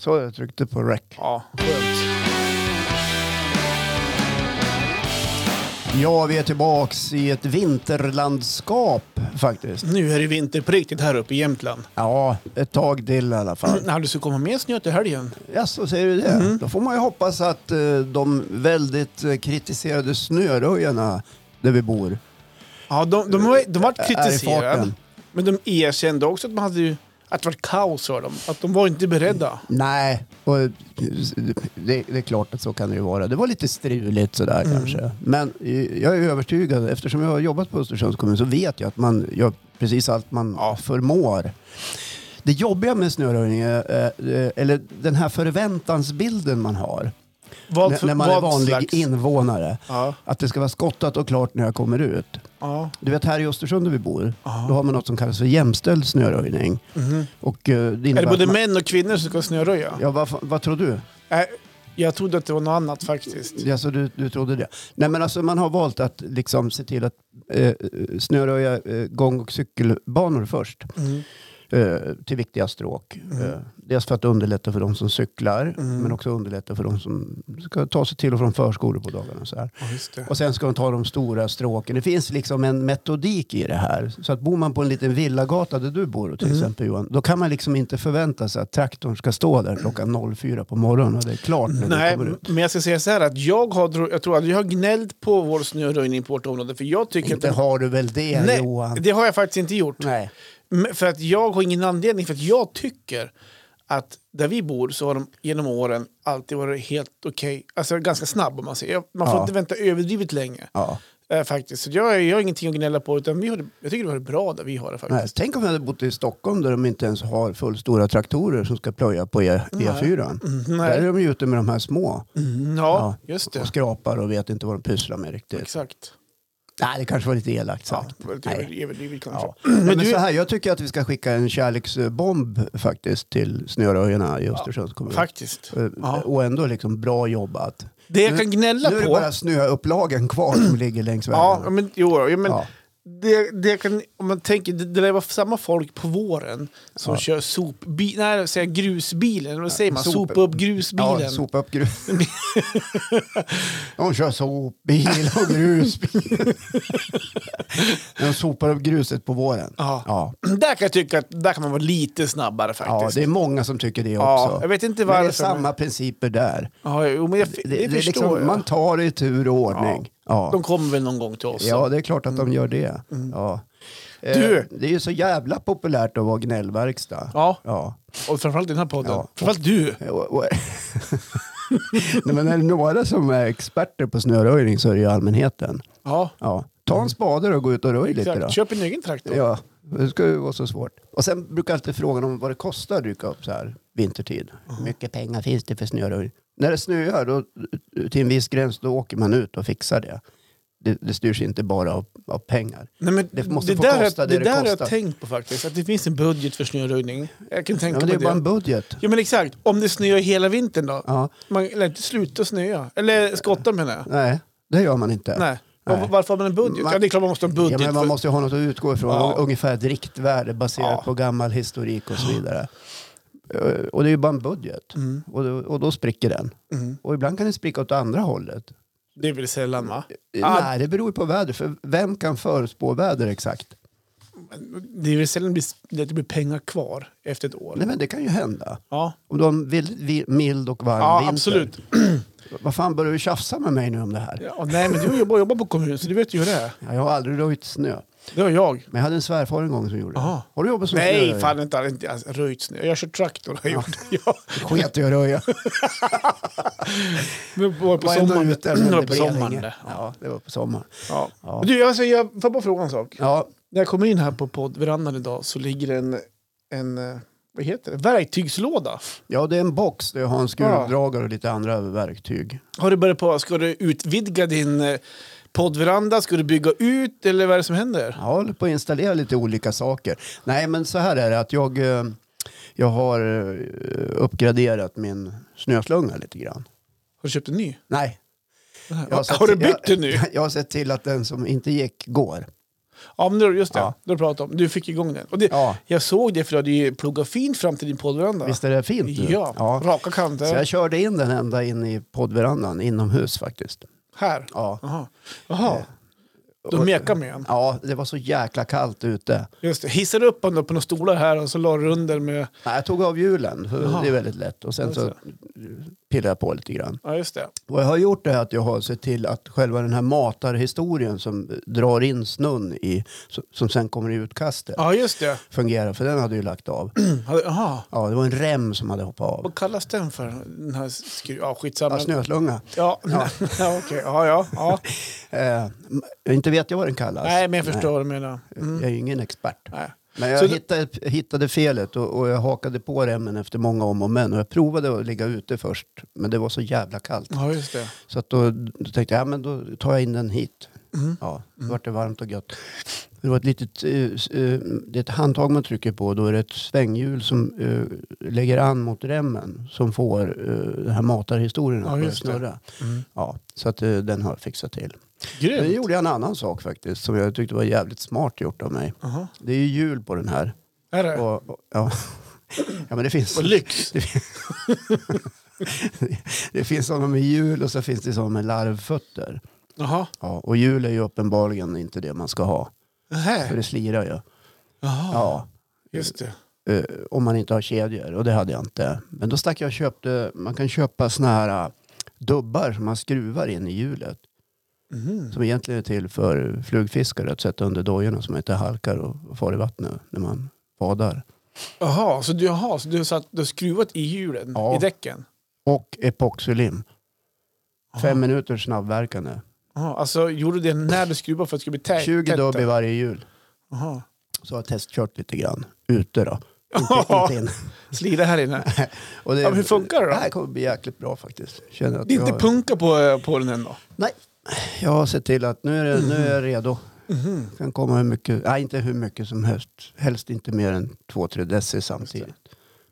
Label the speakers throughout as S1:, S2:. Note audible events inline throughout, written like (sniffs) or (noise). S1: Så jag tryckte på rec.
S2: Ja, skönt.
S1: Ja, vi är tillbaks i ett vinterlandskap faktiskt.
S2: Nu är det vinter på riktigt här uppe i Jämtland.
S1: Ja, ett tag till i alla fall. Mm.
S2: När du ska komma med snö till helgen.
S1: (clears throat) Ja, så säger du det? Då får man ju hoppas att eh, de väldigt eh, kritiserade snöröjarna där vi bor
S2: Ja, de, de, har, de har varit
S1: är i
S2: kritiserade.
S1: farten.
S2: Men de erkände också att, man hade ju, att det var kaos för dem. Att de var inte beredda.
S1: Nej, och det, det är klart att så kan det ju vara. Det var lite struligt sådär
S2: Mm.
S1: kanske. Men eh, jag är övertygad, eftersom jag har jobbat på Östersunds kommun så vet jag att man gör precis allt man
S2: Ja.
S1: förmår. Det jobbiga med snöröjning, är, eh, eh, eller den här förväntansbilden man har
S2: Vad,
S1: när, när man är vanlig
S2: slags-
S1: invånare,
S2: Ja,
S1: att det ska vara skottat och klart när jag kommer ut.
S2: ja.
S1: Du vet här i Östersund där vi bor,
S2: Ja.
S1: då har man något som kallas för jämställd snöröjning.
S2: Mhm.
S1: Och, eh, det
S2: Är
S1: innebär
S2: det både
S1: att man,
S2: män och kvinnor som ska snöröja?
S1: ja, vad, fa- vad tror du?
S2: Nej, Jag trodde att det var något annat faktiskt.
S1: Ja, så du, du trodde det? Nej, men alltså, man har valt att liksom se till att eh, snöröja eh, gång och cykelbanor först
S2: Mm.
S1: eh, till viktiga stråk. Eh, dels för att underlätta för de som cyklar, men också underlätta för de som ska ta sig till och från förskolor på dagarna. Och, så här.
S2: Ja, just det.
S1: och sen ska de ta de stora stråken. Det finns liksom en metodik i det här. Så att bor man på en liten villagata där du bor till exempel Johan, då kan man liksom inte förvänta sig att traktorn ska stå där klockan 04 på morgonen och det är klart när du
S2: Nej,
S1: kommer ut.
S2: men jag ska säga så här att jag har, dro- jag tror att jag har gnällt på vår snöröjning på vårt område. För jag tycker
S1: Inte
S2: att...
S1: har du väl det Johan?
S2: Nej, det har jag faktiskt inte gjort.
S1: Nej.
S2: Men För att jag har ingen anledning, för att jag tycker att där vi bor så har de genom åren alltid varit helt okej. Alltså ganska snabb om man säger. Man får
S1: Ja.
S2: inte vänta överdrivet länge
S1: Ja.
S2: eh, faktiskt. Så jag, jag har ingenting att gnälla på utan vi har, det- jag tycker det var bra där vi har det faktiskt.
S1: Nej. Tänk om jag hade bott i Stockholm där de inte ens har fullstora traktorer som ska plöja på E- E4.
S2: Mm,
S1: Där är
S2: nej.
S1: de ju ute med de här små
S2: Mm, ja, just
S1: och
S2: det.
S1: skrapar och vet inte vad de pysslar med riktigt.
S2: Exakt.
S1: Nej, det kanske var lite elakt
S2: Ja,
S1: sagt.
S2: det var lite
S1: Nej.
S2: överdrivet kanske.
S1: Ja. Men,
S2: Men du-
S1: så här, jag tycker att vi ska skicka en kärleksbomb faktiskt till snöröjarna i Östersunds kommun.
S2: Faktiskt.
S1: Eh,
S2: Ja.
S1: Och ändå liksom bra jobbat.
S2: Det jag
S1: Nu-
S2: kan gnälla
S1: Nu är det
S2: på...
S1: bara snöupplagen kvar som ligger längs vägen.
S2: Ja, men, jo, ja, men
S1: Ja.
S2: Det, det kan, om man tänker, det, det lär vara samma folk på våren som
S1: Ja.
S2: kör sopbi, nej, säger jag, grusbilen. Vad säger man?
S1: sop-
S2: Sopa upp grusbilen.
S1: Ja, sopa upp
S2: (laughs)
S1: grus. De kör sopbil och grusbil. De sopar upp gruset på våren.
S2: Ja.
S1: Ja,
S2: Där kan jag tycka att där kan man vara lite snabbare
S1: ja
S2: faktiskt.
S1: det är många som tycker det
S2: Ja,
S1: också.
S2: jag vet inte
S1: Men det är
S2: varför, men-
S1: samma principer där.
S2: Ja, jo, men jag, det,
S1: Det, det är
S2: förstår
S1: liksom,
S2: jag.
S1: man tar det i tur och ordning. Ja.
S2: De kommer väl någon gång till oss.
S1: Ja, det är klart att de gör det. Ja. Eh,
S2: Du!
S1: Det är ju så jävla populärt att vara gnällverkstad.
S2: Ja,
S1: Ja.
S2: och framförallt i den här podden.
S1: Ja.
S2: Framförallt du.
S1: Och- och- (laughs) Nej, men är det några som är experter på snöröjning så är det ju allmänheten.
S2: Ja,
S1: Ja. Ta en spade och gå ut och röj lite då.
S2: Mm. exakt. Köp en egen traktor.
S1: Ja, det ska ju vara så svårt. Och sen brukar alltid frågan om vad det kostar att dyka upp så här vintertid.
S2: Mm.
S1: Hur mycket pengar finns det för snöröjning? När det snöar då, till en viss gräns då åker man ut och fixar det. Det, det styrs inte bara av, av pengar.
S2: Nej, men
S1: Det måste få
S2: där,
S1: kosta
S2: det,
S1: det det
S2: där har
S1: kostar.
S2: jag tänkt på faktiskt. Att det finns en budget för snöröjning. Jag kan
S1: Ja,
S2: tänka
S1: men det är
S2: på
S1: bara
S2: det.
S1: en budget.
S2: Ja men exakt, om det snöar hela vintern då?
S1: Ja.
S2: Man lär inte sluta snöa. Eller skotta menar jag.
S1: Nej, det gör man inte.
S2: Nej.
S1: Nej.
S2: Var- Varför har man en budget?
S1: Man-
S2: ja, det är klart man måste ha en budget.
S1: Ja, men man
S2: för-
S1: måste ju ha något att utgå ifrån.
S2: Ja.
S1: Ungefär ett riktvärde baserat
S2: Ja.
S1: på gammal historik och så vidare. Eh, Och det är ju bara en budget. Och, då, och då spricker den.
S2: Mm.
S1: Och ibland kan den spricka åt andra hållet. Eh,
S2: Det är väl sällan va? Ja.
S1: Nej, det beror ju på väder. För vem kan förutspå väder exakt?
S2: Det är väl sällan det blir, att det blir pengar kvar efter ett år.
S1: Nej, men det kan ju hända.
S2: Ja,
S1: Om du har en vild, vi- mild och varm
S2: ja
S1: vinter.
S2: absolut.
S1: Vad fan börjar du tjafsa med mig nu om det här?
S2: Ja, nej men du jobbar, jobbar på kommun så du vet ju hur det är.
S1: Ja. Jag har aldrig röjt snö.
S2: Det har jag.
S1: Men jag hade en svärfar en gång som gjorde det.
S2: Jaha.
S1: Har du jobbat som
S2: Nej,
S1: snöröjare?
S2: fan inte, alls- inte alls röjt snö. Jag kör traktor har jag gjort. (laughs) Ja.
S1: Sket i att röja.
S2: Det var på
S1: Var ändå
S2: sommaren.
S1: ute, men
S2: Det var
S1: det
S2: på
S1: blev
S2: sommaren.
S1: inget.
S2: det. Ja.
S1: Ja, det var på sommaren.
S2: Ja.
S1: Ja.
S2: Men Du, alltså, jag får bara fråga en sak.
S1: Ja,
S2: När jag kommer in här på poddverandan idag så ligger det en, en eh, vad heter det? verktygslåda.
S1: ja, det är en box där jag har en skruvdragare och lite andra verktyg.
S2: Har du börjat på, ska du utvidga din eh, poddveranda? Ska du bygga ut eller vad är det som händer?
S1: Jag håller på att installera lite olika saker. Nej, men så här är det att jag, eh, jag har eh, uppgraderat min snöslunga lite grann.
S2: Har du köpt en ny?
S1: Nej. jag
S2: Har,
S1: sett-
S2: du bytt
S1: (laughs) jag,
S2: den nu?
S1: Jag har sett till att den som inte gick går.
S2: Ja, men det- just det.
S1: Ja.
S2: Det har du pratat om. Du fick igång den. Och det,
S1: Ja.
S2: Jag såg det för du hade ju pluggat fint fram till din poddveranda.
S1: Visst är det fint? nu?
S2: Ja, raka kanter.
S1: Så jag körde in den ända in i poddverandan inomhus faktiskt.
S2: Här.
S1: Ja.
S2: Jaha. Jaha.
S1: Eh, Och-
S2: De mekar med en.
S1: ja, det var så jäkla kallt ute.
S2: Just det. Hissade upp honom på några stolar här och så la du under med...
S1: Nej, jag tog av hjulen, för
S2: Jaha. Alltså.
S1: det är väldigt lätt. Och sen
S2: Just
S1: så pillade jag på lite grann.
S2: Ja, just det.
S1: Vad jag har gjort är att jag har sett till att själva den här matarhistorien som drar in snön i, som- som sen kommer i utkastet,
S2: Ja, just det.
S1: fungerar. För den hade ju lagt av.
S2: Hade-
S1: Mm.
S2: Jaha.
S1: Ja, det var en rem som hade hoppat av.
S2: Vad kallas den för? Den här skru... Ja, skitsamma.
S1: Ja, snöslunga.
S2: Ja, ja. (laughs) ja okej. Ja, ja. ja.
S1: Eh, inte vet jag vad den kallas.
S2: Nej, men jag förstår vad du menar. Mm.
S1: Jag är ju ingen expert.
S2: Nej.
S1: Men jag
S2: Så det-
S1: hittade, hittade felet och, och jag hakade på remmen efter många om och men. Och jag provade att ligga ute först, men det var så jävla kallt.
S2: Ja, just det.
S1: Så att då, då tänkte jag, ja men då tar jag in den hit.
S2: Mm.
S1: Ja, då vart det varmt och gött. Det var ett litet eh, s- eh, det är ett handtag man trycker på och då är det ett svänghjul som eh, lägger an mot remmen som får eh, den här matarhistorien
S2: Ja,
S1: att börja
S2: just det.
S1: snurra.
S2: Mm.
S1: Ja, så att eh, den har jag fixat till. Nu
S2: Grymt.
S1: gjorde jag en annan sak faktiskt som jag tyckte var jävligt smart gjort av mig.
S2: Jaha.
S1: Det är ju hjul på den här.
S2: Är det?
S1: Och, och, ja. ja, men det finns.
S2: Vad Äh. lyx.
S1: (laughs) Det finns sådana med hjul och så finns det sådana med larvfötter.
S2: Jaha.
S1: Ja, och hjul är ju uppenbarligen inte det man ska ha. För
S2: Nähä.
S1: det slirar ju.
S2: Jaha.
S1: Ja,
S2: Just det.
S1: eh, om man inte har kedjor. Och det hade jag inte. Men då stack jag och köpte, man kan köpa såna här eh, dubbar som man skruvar in i hjulet.
S2: Mhm.
S1: Som egentligen är till för flugfiskare att sätta under dojorna så man inte halkar och far i vattnet när man badar.
S2: Jaha, så du, jaha, så du, har satt, du har skruvat i hjulen,
S1: Ja.
S2: i däcken?
S1: Och epoxylim.
S2: Jaha.
S1: Fem minuter snabbverkande.
S2: Jaha, alltså gjorde du det när du skruvade för att det skulle bli tä-
S1: 20 dubb i
S2: tätt?
S1: varje hjul.
S2: Jaha.
S1: Så har jag testkört lite grann. Ute
S2: (laughs)
S1: då. Inte,
S2: Ja.
S1: inte in.
S2: (laughs) Slida här inne.
S1: Och det,
S2: Ja, men hur funkar det då?
S1: Det här kommer bli jäkligt bra faktiskt. Känner att
S2: Det är inte
S1: jag,
S2: punka på, eh, på den än då?
S1: Nej, jag har sett till att nu är, det, nu
S2: Mhm.
S1: är jag redo. Kan komma hur mycket, nej inte hur mycket som helst. Helst inte mer än två, tre deci samtidigt.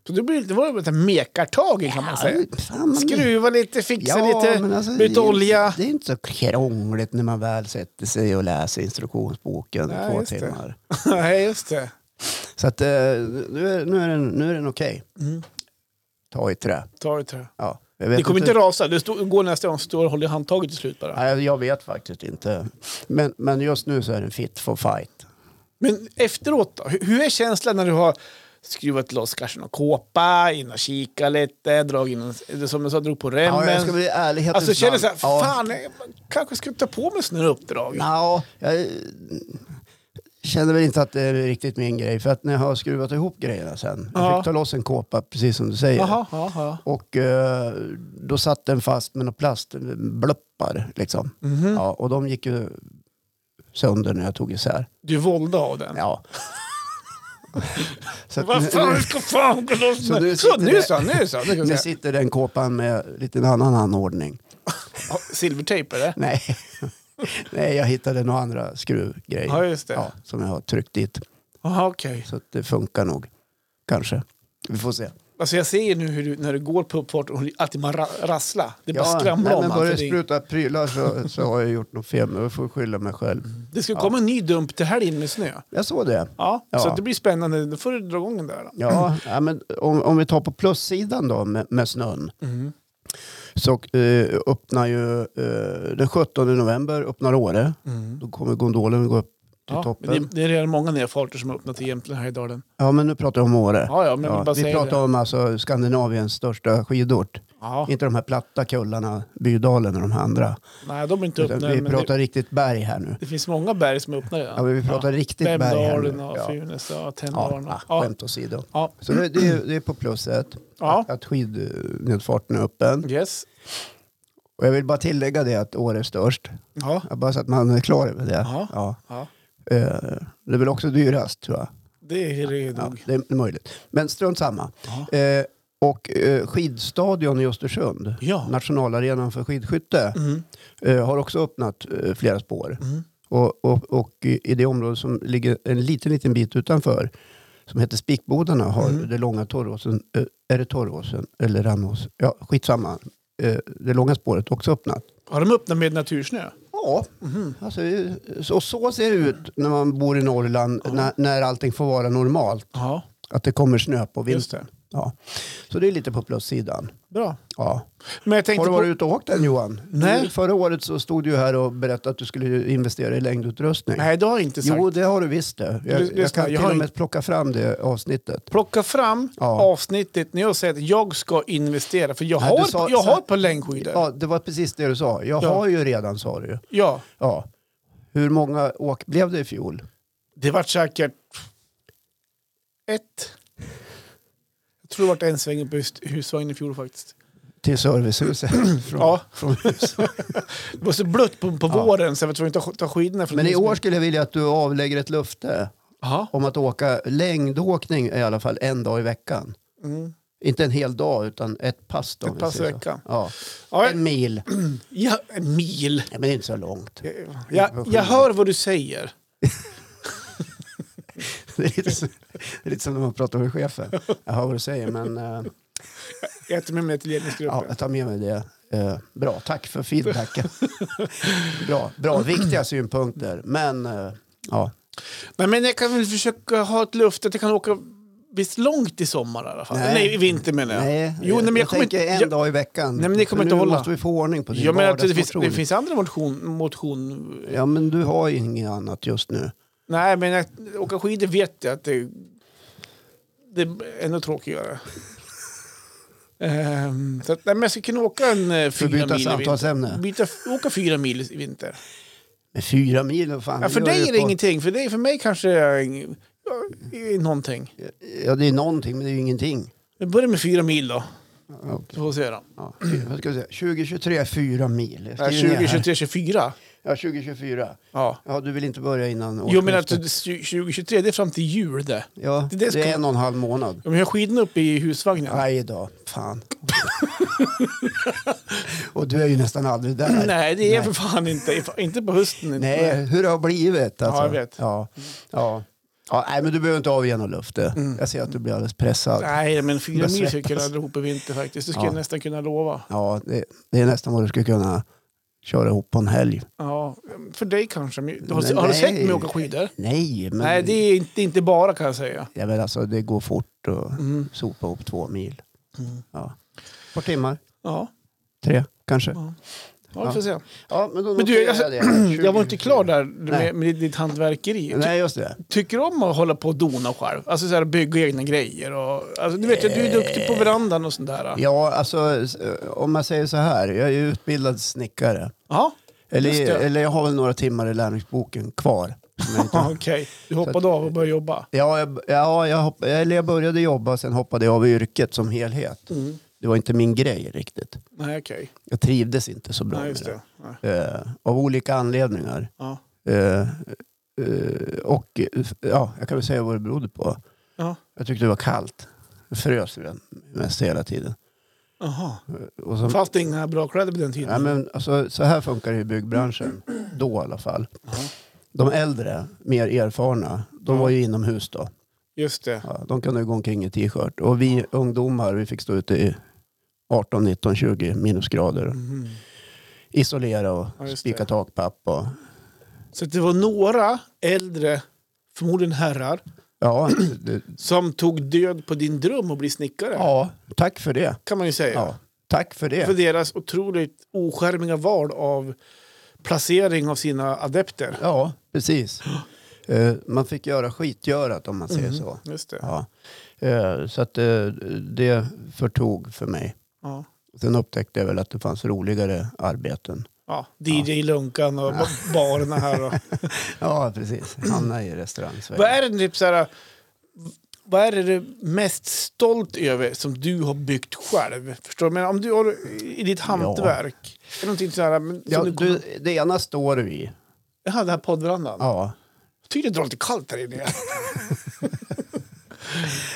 S2: Så det, blir, det var lite mekartag i kan man säga.
S1: Ja, fan, man-
S2: Skruva lite, fixa
S1: Mm. men
S2: Alltså, lite,
S1: alltså, det
S2: byta
S1: är-
S2: olja. (laughs)
S1: Det är inte så krångligt när man väl sätter sig och läser instruktionsboken i
S2: Nej,
S1: två
S2: just det.
S1: timmar.
S2: Nej, just det.
S1: Så att eh, nu är, nu är den, nu är den okej.
S2: Mm.
S1: Ta i trä.
S2: Ta det, trä.
S1: Ja, jag vet
S2: Det kommer inte rasa. Du står- går nästa gång står och håller i handtaget till slut bara.
S1: Nej, jag vet faktiskt inte. Men, men just nu så är den fit for fight.
S2: Men efteråt då? Hur- Hur är känslan när du har skruvat loss kanske någon kåpa, in och kika lite, dragit in en, som du sa, drog på remmen?
S1: Ja, jag ska bli ärlighetens
S2: Alltså känner så här,
S1: man. Ja.
S2: fan, jag kanske ska ta på mig sådana här uppdrag.
S1: Nja, jag känner väl inte att det är riktigt min grej. För att när jag har skruvat ihop grejerna sen. Jag
S2: Ja.
S1: fick ta loss en kåpa, precis som du säger.
S2: Jaha, ja, ja.
S1: Och eh, då satt den fast med några plastbloppar. Liksom.
S2: Mhm.
S1: Ja, och de gick ju sönder när jag tog isär.
S2: Du vålde av den. (laughs)
S1: Ja. så, att nu,
S2: Vad fan, ska fan gå loss
S1: Så nu
S2: med? Så,
S1: sitter
S2: nu
S1: det-
S2: så, nu så. Nu ska vi
S1: nu
S2: se.
S1: sitter den kåpan med lite en annan anordning.
S2: Ja, Silvertejp är det?
S1: Nej. (laughs) Nej, jag hittade några andra skruvgrejer.
S2: Ja, just det.
S1: Ja, som jag har tryckt dit.
S2: Jaha, okej.
S1: Så att det funkar nog. Kanske. Vi får se.
S2: Alltså jag ser ju nu hur du, när du går på uppfart och alltid man ra- rasslar. Det bara skramlar
S1: nej,
S2: om
S1: men
S2: allt.
S1: börjar
S2: för
S1: det
S2: dig.
S1: spruta prylar så, så har jag gjort något fel. Men jag får skylla mig själv.
S2: Det ska komma en ny dump till helgen med snö.
S1: Jag såg det.
S2: Ja,
S1: Ja.
S2: så att det blir spännande. Då får du dra igång den där. Då.
S1: Ja, ja men om, om vi tar på plussidan då med, med snön.
S2: Mm.
S1: Så eh, öppnar ju eh, den 17 november öppnar Åre. Då kommer gondolen gå upp till
S2: Mm. Ja,
S1: toppen.
S2: men det, det är redan många nerfarter som har öppnat i Jämtland här i dalen.
S1: Ja, men nu pratar jag om Åre.
S2: Ja, ja, men jag vill bara
S1: vi
S2: säga
S1: pratar
S2: det.
S1: om alltså Skandinaviens största skidort.
S2: Ja,
S1: Inte de här platta kullarna, Bydalen och de här andra.
S2: nej, de är inte
S1: Utan
S2: öppna än,
S1: vi
S2: men det,
S1: pratar riktigt berg här nu.
S2: det finns många berg som är öppna
S1: Ja,
S2: redan.
S1: men vi pratar riktigt berg här nu.
S2: Bemdalen och
S1: Ja.
S2: Funäs och
S1: Ja,
S2: Tänndalen.
S1: ah,
S2: Ja, ja.
S1: skämt åsido.
S2: ja.
S1: Så det, det, är, det är på plusset
S2: Ja.
S1: att, att skidnedfarten är öppen.
S2: Yes.
S1: Och jag vill bara tillägga det att Åre är störst.
S2: Ja.
S1: Ja, Bara så att man är klar över det.
S2: Ja.
S1: Ja.
S2: ja,
S1: Eh, Det är väl också dyrast tror jag.
S2: det är det
S1: Ja,
S2: nog.
S1: det är möjligt. Men strunt samma.
S2: Ja.
S1: Eh, Och eh, skidstadion i Östersund,
S2: Ja.
S1: nationalarenan för skidskytte,
S2: Mm.
S1: eh, har också öppnat eh, flera spår.
S2: Mm.
S1: Och, och, och i i det område som ligger en liten, liten bit utanför, som heter Spikbodarna, har
S2: Mm.
S1: det långa Torråsen, eh, är det Torråsen eller Rannås? Ja, skitsamma. Eh, Det långa spåret också öppnat.
S2: Har de öppnat med natursnö?
S1: Ja, Ja,
S2: Mm-hmm.
S1: alltså, så, så ser det ut när man bor i Norrland, när, när allting får vara normalt.
S2: Ja,
S1: Att det kommer snö på
S2: just
S1: vintern.
S2: det.
S1: Ja. Så det är lite på plussidan.
S2: Bra.
S1: Ja.
S2: Men jag
S1: Har
S2: tänkte
S1: du
S2: på...
S1: varit ute och åkt än Johan?
S2: Nej.
S1: Du, förra året så stod du ju här och berättade att du skulle investera i längdutrustning.
S2: Nej, det har jag inte sagt.
S1: Jo, det har du visst det. Jag,
S2: Lyssna,
S1: jag kan
S2: jag
S1: till
S2: har
S1: och
S2: ju-
S1: med plocka fram det avsnittet.
S2: Plocka fram
S1: Ja.
S2: avsnittet när jag säger att jag ska investera. För jag
S1: Nej,
S2: har,
S1: du sa-
S2: jag
S1: sa-
S2: har ett par längdskidor. Ja.
S1: Ja, det var precis det du sa. Jag
S2: Eh. Ja.
S1: har ju redan, sa du ju. Ja. Hur många åk blev det i fjol?
S2: det vart säkert ett. Jag tror det vart en sväng på hus- husvagn i fjol faktiskt.
S1: Till servicehuset. från,
S2: (clears throat) Ja.
S1: (laughs) från huset.
S2: Det var så blött på, på
S1: Ja.
S2: våren så jag var tvungen att ta, ta skidorna från
S1: Men i
S2: husbil.
S1: år skulle jag vilja att du avlägger ett löfte
S2: Jaha.
S1: om att åka längdåkning i alla fall en dag i veckan.
S2: Mm.
S1: Inte en hel dag, utan ett pass. Då, om
S2: Ett
S1: vi
S2: pass i
S1: säger så.
S2: veckan.
S1: Ja.
S2: Ja,
S1: En mil.
S2: ja, en mil.
S1: Ja, men det är inte så
S2: (laughs)
S1: långt.
S2: Jag, jag, jag hör vad du säger.
S1: Det är lite, så, det är lite som när man pratar med chefen. Jag hör vad du säger, men eh,
S2: Jag tar med mig till
S1: ja,
S2: ledningsgruppen.
S1: jag tar med mig det. Eh, bra, tack för
S2: (laughs)
S1: feedbacken. bra, bra, viktiga synpunkter. Men eh, ja,
S2: Nej, men jag kan väl försöka ha ett löfte att jag kan åka visst långt i sommar i alla fall.
S1: Nej.
S2: Nej, i vinter menar jag.
S1: nej.
S2: Jo, nej, men jag, kommer
S1: tänker en
S2: jag,
S1: dag i veckan.
S2: Nej, men det kommer
S1: För
S2: inte
S1: nu
S2: hålla.
S1: måste vi få ordning på din
S2: Jag menar att det finns,
S1: vardagsmotion.
S2: det finns andra motion, motion...
S1: Ja, men du har ju inget annat just nu.
S2: Nej, men att åka skidor vet jag att det, det är
S1: (laughs)
S2: ännu tråkigare. Ehm, så att, nej, men jag skulle kunna åka en eh,
S1: För
S2: fyra
S1: att byta
S2: mil i vinter.
S1: samtalsämne.
S2: Byta, åka fyra mil i vinter.
S1: Men fyra mil, vad fan.
S2: Ja, för
S1: gör du
S2: dig är det
S1: på-
S2: ingenting, för, dig, för mig kanske det är ing- ja, är någonting.
S1: Ja, det är någonting, men det är ju ingenting.
S2: Vi börjar med fyra mil då,
S1: Ja, okej.
S2: så får vi se då. Eh,
S1: Ja, vad ska vi säga? 2023, fyra mil. Jag
S2: Nej,
S1: skriver ner
S2: 20,
S1: här.
S2: 23, 24.
S1: Ja, 2024.
S2: Ja.
S1: Ja, du vill inte börja innan
S2: Jo, men att
S1: årsskiftet.
S2: 2023, det är fram till jul det.
S1: Ja,
S2: det
S1: det,
S2: där ska-
S1: är en och en halv månad.
S2: Om jag har skidorna uppe i husvagnen. (clears throat)
S1: Aj då, fan. och du är ju nästan aldrig där.
S2: Nej, det är jag för fan inte. Inte på hösten. inte.
S1: Nej, hur det har blivit. Alltså.
S2: Ja, jag vet.
S1: Ja, ja. Ja, nej, men du behöver inte avge något löfte. Jag ser att du blir alldeles pressad.
S2: Mm. Nej, men fyra
S1: Börjar
S2: mil skulle jag kunna
S1: svettas.
S2: dra ihop i vinter faktiskt. Det skulle
S1: Ja.
S2: jag nästan kunna lova.
S1: Ja, det, det är nästan vad du skulle kunna köra ihop på en helg.
S2: Ja, för dig kanske. men- Har,
S1: Men
S2: har du
S1: nej.
S2: sett mig åka skidor?
S1: Nej, men,
S2: Nej, det är inte, det är inte bara kan jag säga.
S1: ja, men alltså, det går fort att
S2: Mm.
S1: sopa ihop två mil.
S2: Mm.
S1: Ja. Ett par timmar,
S2: Ja,
S1: tre kanske.
S2: Ja. ja, vi får se.
S1: Ja, men då
S2: Men du,
S1: noterar
S2: alltså,
S1: jag det.
S2: (clears throat) Jag var inte klar där
S1: Nej.
S2: med, med ditt hantverkeri. Ty,
S1: Nej, just det.
S2: tycker du om att hålla på och dona själv? Alltså så här, bygga egna grejer och... Alltså, du vet ju, att du är duktig på verandan och sånt där.
S1: Ja, alltså s- om man säger så här. Jag är ju utbildad snickare.
S2: Ja, Just
S1: Eller,
S2: det.
S1: eller jag har väl några timmar i lärlingsboken kvar. som jag inte
S2: (laughs) okej. Du hoppade av och började jobba.
S1: Ja, jag, ja jag, hopp, eller jag började jobba sen hoppade jag av yrket som helhet.
S2: Mm.
S1: Det var inte min grej riktigt.
S2: Nej, okej.
S1: Jag trivdes inte så bra
S2: Nej, just
S1: med
S2: det. Nej.
S1: det. Eh, av olika anledningar.
S2: Ja.
S1: Eh, eh, och eh, ja, jag kan väl säga vad det berodde på.
S2: Ja.
S1: Jag tyckte det var kallt. Jag frös ju den mest hela tiden.
S2: Aha.
S1: Eh, Och så,
S2: Fanns det inga bra kläder på den tiden?
S1: ja, men, alltså, så här funkar det i byggbranschen. Då i alla fall. De äldre, mer erfarna, de var ju inomhus då.
S2: Just det.
S1: Ja, de kunde ju gå omkring i t-shirt. Och vi ungdomar, vi fick stå ute i 18, 19, 20 minusgrader.
S2: Mhm.
S1: Isolera och
S2: Ja, just det.
S1: spika takpapp. Och,
S2: Så att det var några äldre, förmodligen herrar,
S1: ja, det,
S2: som tog död på din dröm att bli snickare.
S1: ja, tack för det.
S2: Kan man ju säga.
S1: Ja, tack för
S2: För
S1: det.
S2: deras otroligt oskärmiga val av placering av sina adepter.
S1: Ja, precis. Eh, man fick göra skitgörat om man säger
S2: Mhm.
S1: så.
S2: Just det.
S1: Ja. Eh, så att, eh, det förtog för mig.
S2: Ja.
S1: Sen upptäckte jag väl att det fanns roligare arbeten.
S2: Ja. DJ Lunkan och ba- barerna här.
S1: (laughs)
S2: Och.
S1: Ja, precis. Hamna i
S2: vad
S1: restaurangsvängen.
S2: är det typ så här, vad är det du mest stolt över som du har byggt själv? Förstår du? Men om du har i ditt hantverk, är det någonting så här, men, som
S1: Ja,
S2: du kommer...
S1: du, det ena står du i.
S2: Jaha, den här poddverandan?
S1: Ja.
S2: Jag tycker det drar lite kallt
S1: (laughs)
S2: här inne.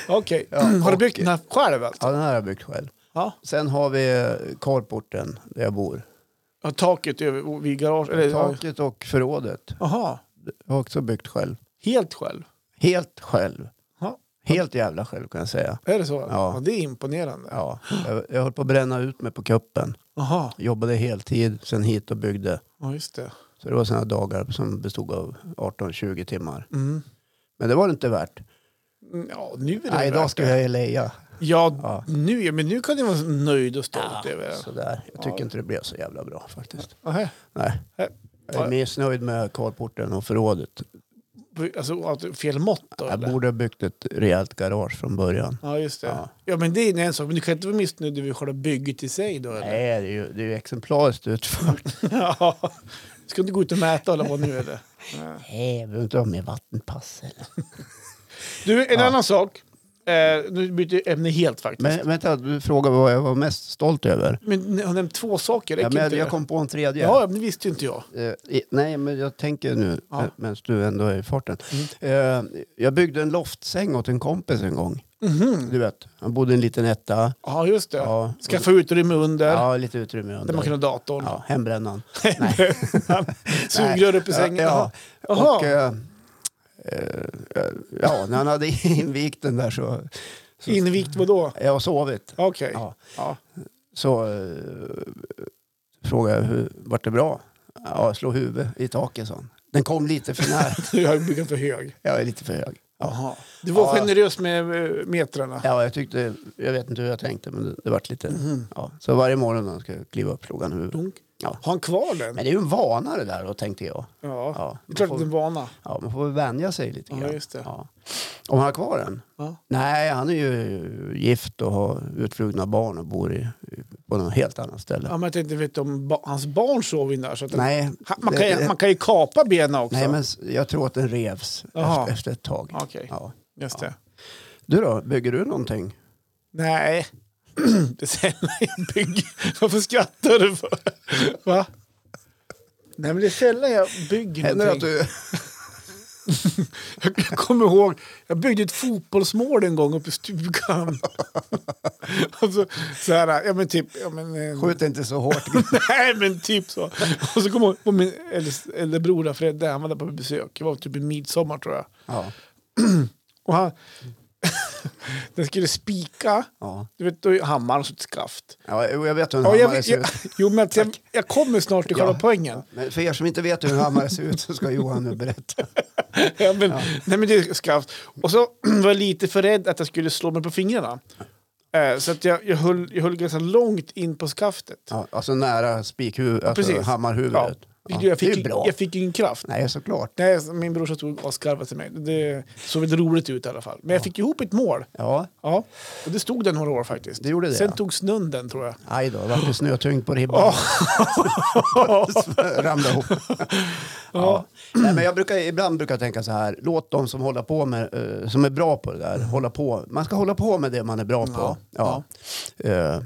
S2: Okej.
S1: Ja,
S2: har du
S1: och-
S2: byggt den här själv? Alltså?
S1: Ja, den här har jag byggt själv.
S2: Ja.
S1: Sen har vi eh, carporten där jag bor.
S2: ja. Taket över vid garaget? Eller, ja.
S1: Taket och förrådet
S2: Jaha,
S1: har jag också byggt själv.
S2: helt själv?
S1: Helt själv.
S2: Ja.
S1: Helt jävla själv kan jag säga.
S2: Är det så?
S1: Ja.
S2: det är imponerande.
S1: Ja. Jag, jag höll på att bränna ut mig på kuppen.
S2: Jaha,
S1: Jobbade heltid, sen hit och byggde.
S2: ja, just det.
S1: Så det var sådana dagar som bestod av 18-20 timmar.
S2: Mm.
S1: Men det var det inte värt.
S2: Ja, nu är det
S1: Nej, idag
S2: värt
S1: ska
S2: det.
S1: jag leja.
S2: Ja,
S1: Ja.
S2: Nu, ja, men nu kan du vara nöjd och stolt över det.
S1: Sådär. Jag tycker
S2: Ja.
S1: inte det blev så jävla bra faktiskt.
S2: Aha.
S1: Nej.
S2: Nej.
S1: Jag är missnöjd med karlporten och förrådet.
S2: Alltså, att- fel mått då?
S1: Jag
S2: eller?
S1: borde ha byggt ett rejält garage från början.
S2: Ja, just det. Ja.
S1: Ja.
S2: men det är en sak. Men du kan inte vara missnöjd över själva bygget i sig då? Eller?
S1: Nej, det är ju, det är ju exemplariskt utfört.
S2: (laughs) Ja. Ska du gå ut och mäta eller vad nu
S1: (laughs)
S2: är det?
S1: Nej, jag behöver inte ha med vattenpass eller.
S2: Du, en
S1: Ja.
S2: annan sak. Eh, nu byter jag ämne helt faktiskt. Men,
S1: Men vänta, du frågade vad jag var mest stolt över.
S2: ni har nämnt två
S1: Ja,
S2: saker. räcker
S1: men
S2: inte
S1: jag
S2: det?
S1: kom på en tredje.
S2: Ja, men det visste ju inte jag.
S1: Eh, i- nej, men jag tänker nu
S2: Ja.
S1: ja. medan du ändå är i farten. Eh, jag byggde en loftsäng åt en kompis en gång. Du vet, han bodde i en liten etta.
S2: Mhm. Ja, just det.
S1: Ja.
S2: Skaffa utrymme under.
S1: Ja, lite utrymme under.
S2: Där man kan ha datorn.
S1: Ja, hembrännan.
S2: (laughs) Sugrör upp
S1: (laughs)
S2: i
S1: Ja,
S2: sängen.
S1: Ja.
S2: Jaha.
S1: Och, eh, eh, ja, när han hade (laughs) invigt den där så... så
S2: Invikt vadå?
S1: jag har sovit.
S2: Okej. (laughs)
S1: Ja.
S2: Ja.
S1: Så eh, frågade jag, hur, vart det bra? Ja, slå huvudet i taket, sa han. Den kom lite för
S2: (laughs)
S1: nära.
S2: Du har byggt för hög.
S1: jag är lite för hög. Ja.
S2: Jaha. Du var
S1: Ja.
S2: generös med eh, metrarna.
S1: Ja, jag tyckte, jag vet inte hur jag tänkte, men det, det vart lite...
S2: Mm.
S1: Ja. Så varje morgon när jag ska kliva upp slog han huvudet.
S2: Dunk.
S1: Ja.
S2: Har han kvar den?
S1: Men det är ju en vana det där då, tänkte jag.
S2: Ja.
S1: Ja,
S2: Det är klart
S1: man får-
S2: att det är en vana.
S1: Ja, man får väl vänja sig lite
S2: Ja,
S1: grann.
S2: just det.
S1: Ja. Om han har kvar den?
S2: Ja.
S1: Nej, han är ju gift och har utflugna barn och bor i, på något helt annat ställe.
S2: Ja, men jag tänkte, vet du, om ba- hans barn sov in där. Så att
S1: Nej,
S2: Han, man, kan,
S1: det-
S2: ju- man kan ju kapa benen också.
S1: Nej, men s- jag tror att den revs
S2: Jaha.
S1: efter, efter ett tag.
S2: Okej,
S1: Ja.
S2: just det.
S1: Du då, bygger du någonting?
S2: Nej, (clears throat) det är sällan jag bygger. Varför skrattar du? För? Va? Nej, men det är sällan jag bygger
S1: Händer det att
S2: någonting.
S1: du... (laughs)
S2: Jag kommer ihåg, jag byggde ett fotbollsmål en gång uppe
S1: (laughs)
S2: i stugan. Och så, så här, ja men typ... Ja, men, eh,
S1: Skjut inte så hårt.
S2: (laughs) Nej men typ så. Och så kom jag ihåg på min äldre- äldre bror där, Fredde, han var där på besök. Det var typ i midsommar tror jag.
S1: ja.
S2: Och han... (laughs) den skulle spika,
S1: Ja.
S2: du vet, då är hammaren som ett skaft.
S1: Ja, jo, jag vet hur en
S2: Ja,
S1: hammare
S2: jag,
S1: ser
S2: jag,
S1: ut.
S2: jo men att jag, jag kommer snart till själva
S1: Ja.
S2: poängen.
S1: Men för er som inte vet hur en hammare ser ut så ska Johan nu berätta.
S2: (laughs) Ja, men, Nej men det är skaft. Och så (clears throat) var jag lite för rädd att jag skulle slå mig på fingrarna. Eh, så att jag, jag, höll, jag höll ganska långt in på skaftet.
S1: Ja, alltså nära spikhuvudet, alltså
S2: precis. Ja.
S1: hammarhuvudet. Ja,
S2: Jag,
S1: det är
S2: fick,
S1: bra.
S2: jag fick ingen kraft.
S1: Nej, såklart.
S2: Nej, så min brorsa tog och skarvade till mig. Det såg lite roligt ut i alla fall. Men jag fick ihop ett mål.
S1: Ja,
S2: Ja, och det stod den några år faktiskt.
S1: Det gjorde det,
S2: Sen
S1: ja.
S2: tog snön den tror jag.
S1: aj då, vart det snötyngd på ribban. Ramlade
S2: (laughs)
S1: ihop. Ja. Nej, men jag brukar, ibland brukar jag tänka så här, låt de som, håller på med, eh, som är bra på det där hålla på. Man ska hålla på med det man är bra på.
S2: Ja,
S1: Ja. Eh,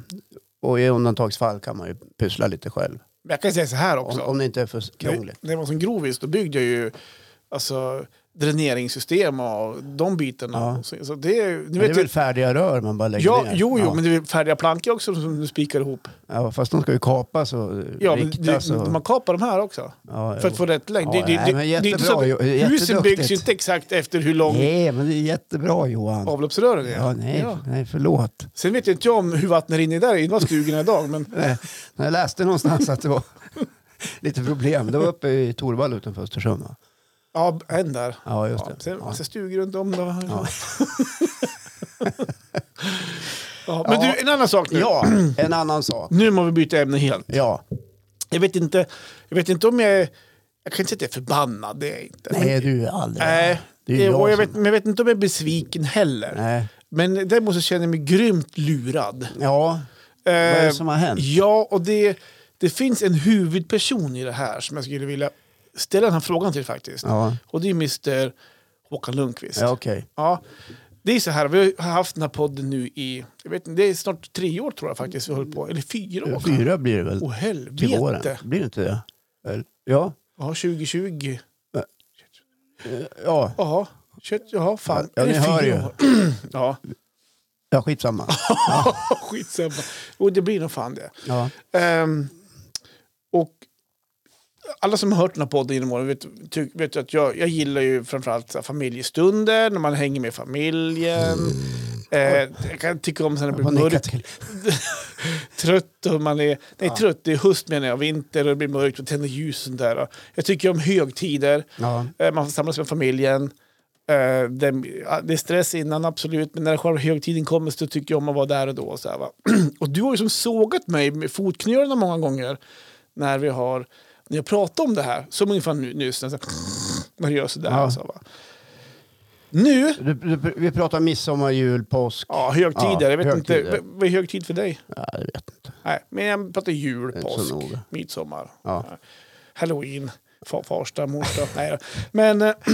S1: och i undantagsfall kan man ju pyssla lite själv.
S2: Men jag kan säga så här
S1: Om,
S2: också.
S1: om det inte är för
S2: när,
S1: krångligt.
S2: när jag var som grovis då byggde jag ju alltså, dräneringssystem och de bitarna.
S1: Ja.
S2: Så, så det, är- nu
S1: Men det
S2: vet
S1: är väl
S2: jag,
S1: färdiga rör man bara lägger
S2: ja,
S1: ner?
S2: jo, jo,
S1: ja.
S2: men det är färdiga plankor också som du spikar ihop.
S1: ja, fast de ska ju kapas och
S2: Ja, men
S1: riktas.
S2: det,
S1: och...
S2: man kapar de här också.
S1: alltså. ja,
S2: För
S1: jo.
S2: att få rätt längd.
S1: Ja,
S2: det, det,
S1: nej,
S2: det,
S1: men
S2: det är inte
S1: jättebra,
S2: så att,
S1: jo,
S2: husen
S1: jätteduktigt.
S2: byggs ju inte exakt efter hur lång
S1: Nej, men det är jättebra Johan.
S2: avloppsrören är.
S1: Ja, nej,
S2: Ja.
S1: nej, förlåt.
S2: Sen vet jag inte om hur vattnet rinner där i de här stugorna idag. Men,
S1: Nej, Eh, Jag läste någonstans att det var (laughs) lite problem. Det var uppe i Torvalla utanför Östersund va?
S2: ja, en där.
S1: Ja, just
S2: Ja,
S1: det.
S2: sen
S1: Ja.
S2: massa stugor runt om. Då. Ja.
S1: (laughs) Ja.
S2: men
S1: Ja.
S2: du, en annan sak nu.
S1: Ja, en annan sak.
S2: Nu må vi byta ämne helt.
S1: Ja,
S2: Jag vet inte, jag vet inte om jag är... Jag kan inte säga att jag är förbannad, det är jag inte.
S1: nej du är aldrig.
S2: Nej,
S1: det är ju
S2: eh, och
S1: jag
S2: jag
S1: som-
S2: vet, men jag vet inte om jag är besviken heller.
S1: Nej.
S2: Men däremot så känner jag mig grymt lurad.
S1: Ja, vad
S2: Vad
S1: är det som har hänt?
S2: Ja, och det, det finns en huvudperson i det här som jag skulle vilja ställa den här frågan till faktiskt.
S1: Ja,
S2: Och det är Mr Håkan Lundqvist.
S1: ja okej.
S2: Ja, det är så här, vi har haft den här podden nu i, jag vet inte, det är snart tre år tror jag faktiskt vi har hållit på, eller fyra år.
S1: Fyra blir det väl
S2: Åh
S1: till våren?
S2: helvete!
S1: Blir det inte det? Eller- Ja,
S2: Ja, 2020.
S1: ja.
S2: Ja, kött, ja fan.
S1: Ja, ni
S2: Det är fyra
S1: hör ju.
S2: år. (clears throat) ja,
S1: ja
S2: (laughs)
S1: skitsamma.
S2: skitsamma. Och det blir nog fan det.
S1: Ja.
S2: Ehm, och alla som har hört den här podden genom åren vet, ty, vet ju att jag, jag gillar ju framförallt så här familjestunder, när man hänger med familjen. Eh, jag kan tycka om så här när det
S1: Vad
S2: blir
S1: nickar
S2: mörkt.
S1: till.
S2: trött och man är... Nej, trött, det är höst menar jag, vinter och det blir mörkt och tänder ljusen där. Och Jag tycker om högtider,
S1: Ja.
S2: eh, man får samlas med familjen. Eh, Det, ja, det är stress innan, absolut, men när själva högtiden kommer så tycker jag om att vara där och då. Och, så här, va? (clears throat) och du har ju som sågat mig med fotknölarna många gånger när vi har när jag pratar om det här, som ungefär nu- nyss, när jag så här- (sniffs) när jag gör sådär.
S1: Ja.
S2: Så, här, va? Nu
S1: Du, du, vi pratar midsommar, jul, påsk.
S2: Ja, högtider.
S1: Ja,
S2: jag vet
S1: högtider.
S2: inte. V- Vad är högtid för dig?
S1: Ja, jag vet inte.
S2: Nej, men jag pratar jul,
S1: Det är inte
S2: påsk,
S1: så noga.
S2: midsommar,
S1: Ja.
S2: halloween, fa- farsta, morsta. (laughs) Nej, då. men, eh, (clears throat)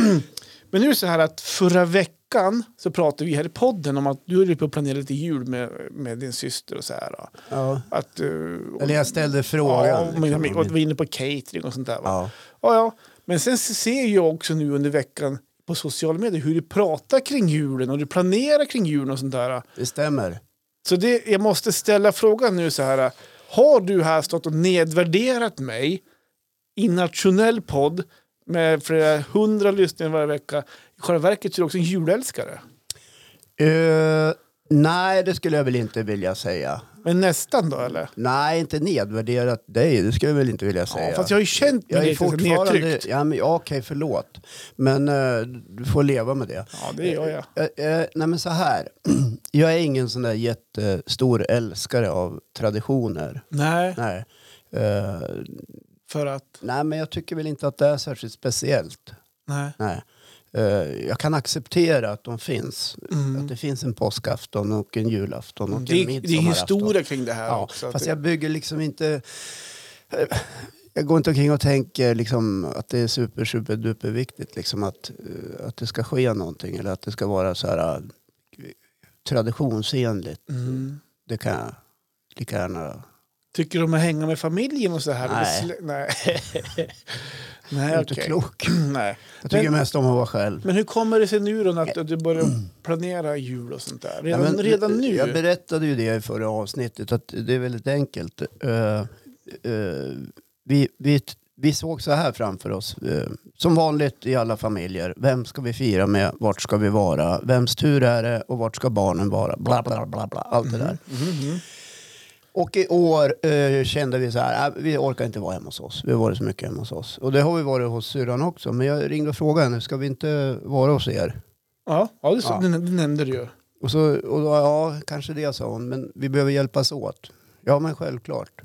S2: men nu är det så här att förra veckan så pratade vi här i podden om att du höll på att planera lite jul med, med din syster och så här. då.
S1: Ja.
S2: Att, eh, och,
S1: Eller jag ställde frågan.
S2: ja, och, mina-
S1: liksom.
S2: och var inne på catering och sånt där. Va?
S1: ja.
S2: Ja, ja. Men sen så ser jag också nu under veckan på sociala medier hur du pratar kring julen och du planerar kring julen och sånt där.
S1: Det stämmer.
S2: Så det, jag måste ställa frågan nu så här. Har du här stått och nedvärderat mig i nationell podd med flera hundra lyssningar varje vecka? I själva verket så är du också en julälskare.
S1: Eh, nej, det skulle jag väl inte vilja säga.
S2: Men nästan då eller?
S1: Nej, inte nedvärderat dig. Det skulle jag väl inte vilja säga.
S2: Ja, fast jag har ju känt mig
S1: Jag är
S2: lite så
S1: fortfarande...
S2: nedtryckt.
S1: Ja, men, ja, okej, förlåt. Men eh, du får leva med det.
S2: Ja, det gör jag.
S1: Eh, eh, nej, men så här. (clears throat) Jag är ingen sån där jättestor älskare av traditioner.
S2: Nej,
S1: Nej. Eh,
S2: för att...
S1: nej, men jag tycker väl inte att det är särskilt speciellt.
S2: Nej.
S1: Nej. Eh, jag kan acceptera att de finns. Att
S2: Mm.
S1: det finns en påskafton och en julafton och en
S2: Det, är- det är
S1: midsommarafton.
S2: historia kring det här
S1: Ja,
S2: också. att
S1: fast
S2: det-
S1: jag bygger liksom inte... eh, Jag går inte omkring och tänker liksom att det är super, super, duper viktigt liksom att, eh, att det ska ske någonting eller att det ska vara så här eh, traditionsenligt.
S2: Mm.
S1: Det kan jag lika gärna...
S2: Tycker du om att hänga med familjen och så här?
S1: Nej.
S2: Eller slä- Nej, (laughs) Nej
S1: Jag är inte
S2: okej.
S1: klok.
S2: (clears throat) Nej.
S1: Jag tycker
S2: Men-
S1: mest om att vara själv.
S2: Men hur kommer det sig nu då att du börjar planera jul och sånt där? Redan,
S1: Eh. Ja, men
S2: redan nu?
S1: Jag berättade ju det i förra avsnittet att det är väldigt enkelt. Eh, eh, vi, vi, vi såg så här framför oss, eh, som vanligt i alla familjer. Vem ska vi fira med? Vart ska vi vara? Vems tur är det? Och vart ska barnen vara? Bla, bla, bla, bla. Allt det där.
S2: Mhm.
S1: Och i år eh, kände vi så här, äh, vi orkar inte vara hemma hos oss. Vi har varit så mycket hemma hos oss. Och det har vi varit hos syrran också. Men jag ringde och frågade henne, ska vi inte vara hos er?
S2: Ja, ja, det, så,
S1: Ja.
S2: Det, det nämnde du ju.
S1: Och, så, och då, ja, kanske det sa hon, men vi behöver hjälpas åt. Ja, men självklart.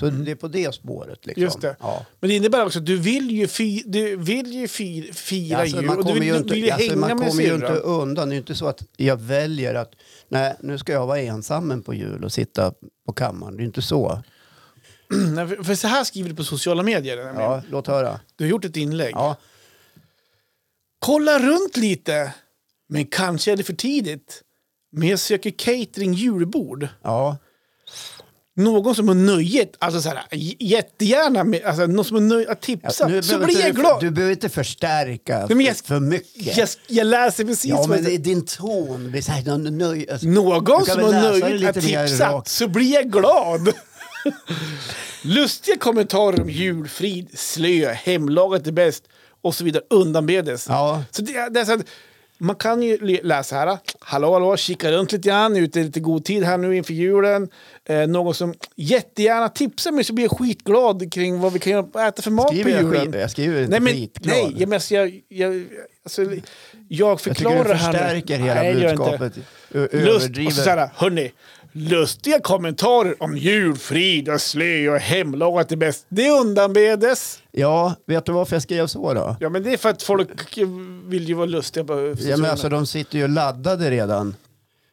S1: Så det är på det spåret. Liksom.
S2: Mm. Just det.
S1: Ja.
S2: Men det innebär också att du vill ju, fi, du vill ju fi, fira
S1: Alltså,
S2: jul
S1: man
S2: och du
S1: kommer
S2: vill,
S1: ju
S2: du vill ju
S1: inte, alltså,
S2: hänga
S1: man
S2: med
S1: kommer ju inte
S2: syrran.
S1: undan. Det är inte så att jag väljer att nej, nu ska jag vara ensam på jul och sitta på kammaren. Det är inte så.
S2: (clears throat) Nej, för- För så här skriver du på sociala medier. nämligen.
S1: Ja, låt höra.
S2: Du har gjort ett inlägg.
S1: Ja,
S2: Kolla runt lite, men kanske är det för tidigt. Men jag söker catering julbord.
S1: ja.
S2: Någon som har nöjet, alltså så här, j- jättegärna, med, alltså, någon som har nöjet att
S1: Ja,
S2: tipsa.
S1: nu
S2: så
S1: behöver
S2: blir
S1: inte
S2: jag
S1: du-
S2: glad.
S1: Du behöver inte förstärka
S2: men jag-
S1: för mycket.
S2: Jag, jag läser precis
S1: ja,
S2: vad
S1: men
S2: jag-
S1: det- din ton blir så här... någon nöj- Alltså,
S2: Någon
S1: Du kan
S2: som
S1: väl
S2: har
S1: läsa det
S2: nöjet att
S1: lite mer
S2: tipsa
S1: rakt.
S2: så blir jag glad. (laughs) Lustiga kommentarer om julfrid, slö, hemlagat är bäst och så vidare undanbedes.
S1: Ja.
S2: Så det, är- det är så att, man kan ju le- läsa här. Hallå, hallå, kika runt lite grann, ute i lite god tid här nu inför julen. Eh, någon som jättegärna tipsar mig så blir jag skitglad kring vad vi kan göra- äta för mat
S1: Skriver
S2: på
S1: jag,
S2: julen.
S1: skit, jag skriver inte
S2: Nej, men,
S1: skitglad.
S2: nej jag, men, alltså, jag, jag, alltså, jag
S1: Jag tycker
S2: förklarar
S1: du
S2: här nu.
S1: förstärker hela
S2: Nej, det gör jag inte.
S1: budskapet. Ö-
S2: Lust, och så
S1: Överdriver.
S2: såhär, hörni, lustiga kommentarer om jul, frid och slö och hemlagat är bäst. Det undanbedes.
S1: Ja, vet du varför jag skrev så då?
S2: Ja, men det är för att folk vill ju vara lustiga. På
S1: Ja, men alltså, de sitter ju laddade redan.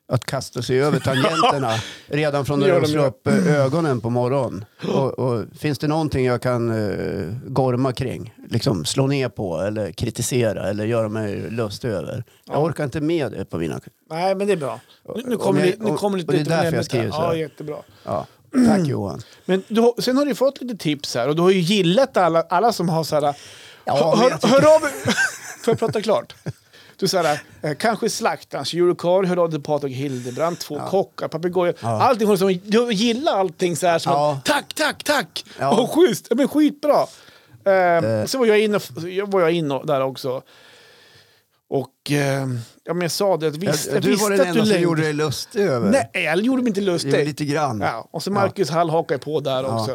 S1: Att kasta sig
S2: (laughs)
S1: över tangenterna redan från när
S2: Gör
S1: de
S2: de
S1: slår
S2: ju.
S1: upp eh, ögonen på morgonen. Och, och, finns det någonting jag kan eh, gorma kring? Liksom slå ner på eller kritisera eller göra mig lustig över. Jag orkar inte med det på mina...
S2: Nej, men det är bra. Nu, nu
S1: Och-
S2: kommer
S1: och-
S2: det, nu
S1: och-
S2: kommer
S1: och det är
S2: lite mer
S1: därför jag
S2: ämnet här.
S1: skriver så här.
S2: Ja, jättebra. (clears throat)
S1: Ja. Tack Johan.
S2: Men du, har- sen har du fått lite tips här och du har ju gillat alla, alla som har så här...
S1: Ja, men
S2: hör,
S1: jag tycker-
S2: hör av (laughs) Får jag prata klart? Du så här, eh, kanske slaktans, julkorv, hör av dig till Patrik Hildebrandt, två kockar, papegojor.
S1: Ja.
S2: Allting får som, du gillar allting så här som
S1: Ja.
S2: tack, tack, tack!
S1: Ja.
S2: Och schysst, ja, men Ehm, skitbra! Eh, Så var jag inne, jag var jag inne där också. Och eh, ja, men jag sa det, att visst, jag
S1: du
S2: visste
S1: var den
S2: att
S1: enda
S2: du
S1: som
S2: längtade.
S1: gjorde dig lustig över.
S2: Nej, jag gjorde mig inte
S1: Jo,
S2: lustig.
S1: lite grann.
S2: Ja, och så Marcus Hall hakar ju på där också.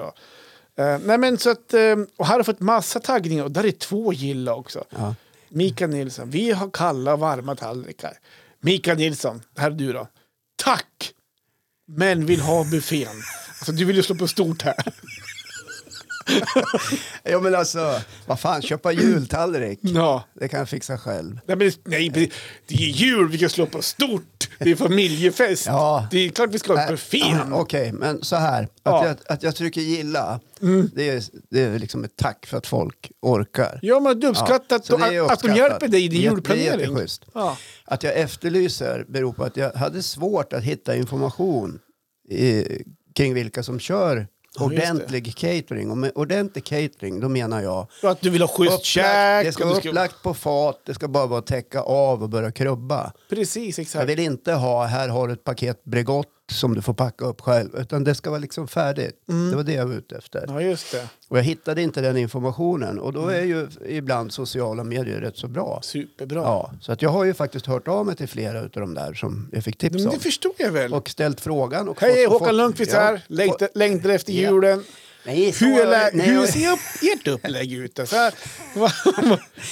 S2: Då. Eh, nej, men så att, eh, och här har jag fått massa taggningar och där är två gilla också.
S1: Ja.
S2: Mikael Nilsson, vi har kalla varma tallrikar. Mikael Nilsson, det här är du då. Tack! Men vill ha buffén. Alltså, du vill ju slå på stort här.
S1: (laughs) Ja men alltså, vad fan, köpa jultallrik.
S2: Ja.
S1: Det kan jag fixa själv.
S2: Nej, men, nej, men det är jul, vi kan slå på stort. Det är familjefest.
S1: Ja.
S2: Det är klart vi ska ha
S1: Äh,
S2: buffén.
S1: Okej, men så här. Att,
S2: Ja. Mm.
S1: jag, att jag trycker gilla, det, är, det är liksom ett tack för att folk orkar.
S2: Ja, men det är uppskattat
S1: så det är
S2: att- att de
S1: uppskattat.
S2: hjälper dig i din
S1: Det är- Det är
S2: julplanering.
S1: jätteschysst.
S2: Ja.
S1: Att jag efterlyser beror på att jag hade svårt att hitta information i, kring vilka som kör
S2: just det.
S1: ordentlig catering. Och med ordentlig catering, då menar jag
S2: Och att du vill ha schysst käk.
S1: det ska
S2: och
S1: vara
S2: du ska-
S1: upplagt på fat, det ska bara vara att täcka av och börja krubba.
S2: Precis,
S1: Jag
S2: exakt.
S1: vill inte ha, här har du ett paket Bregott som du får packa upp själv, utan det ska vara liksom färdigt. Det var det jag var ute efter.
S2: Mm. Ja, Mm. just det.
S1: Och jag hittade inte den informationen och då är ju ibland sociala medier rätt så bra.
S2: Superbra.
S1: Ja, så att jag har ju faktiskt hört av mig till flera av de där som jag fick tips
S2: Men
S1: om.
S2: det förstår jag väl.
S1: Och ställt frågan. Och
S2: Hej,
S1: fått- fått-
S2: Håkan Lundqvist
S1: ja,
S2: här.
S1: fått-
S2: Längtar, längtar efter
S1: Ja.
S2: julen.
S1: Nej, så-
S2: Hur, är lä-
S1: nej,
S2: hur
S1: jag-
S2: ser upp, ert upplägg ut?
S1: (laughs)
S2: Alltså, här-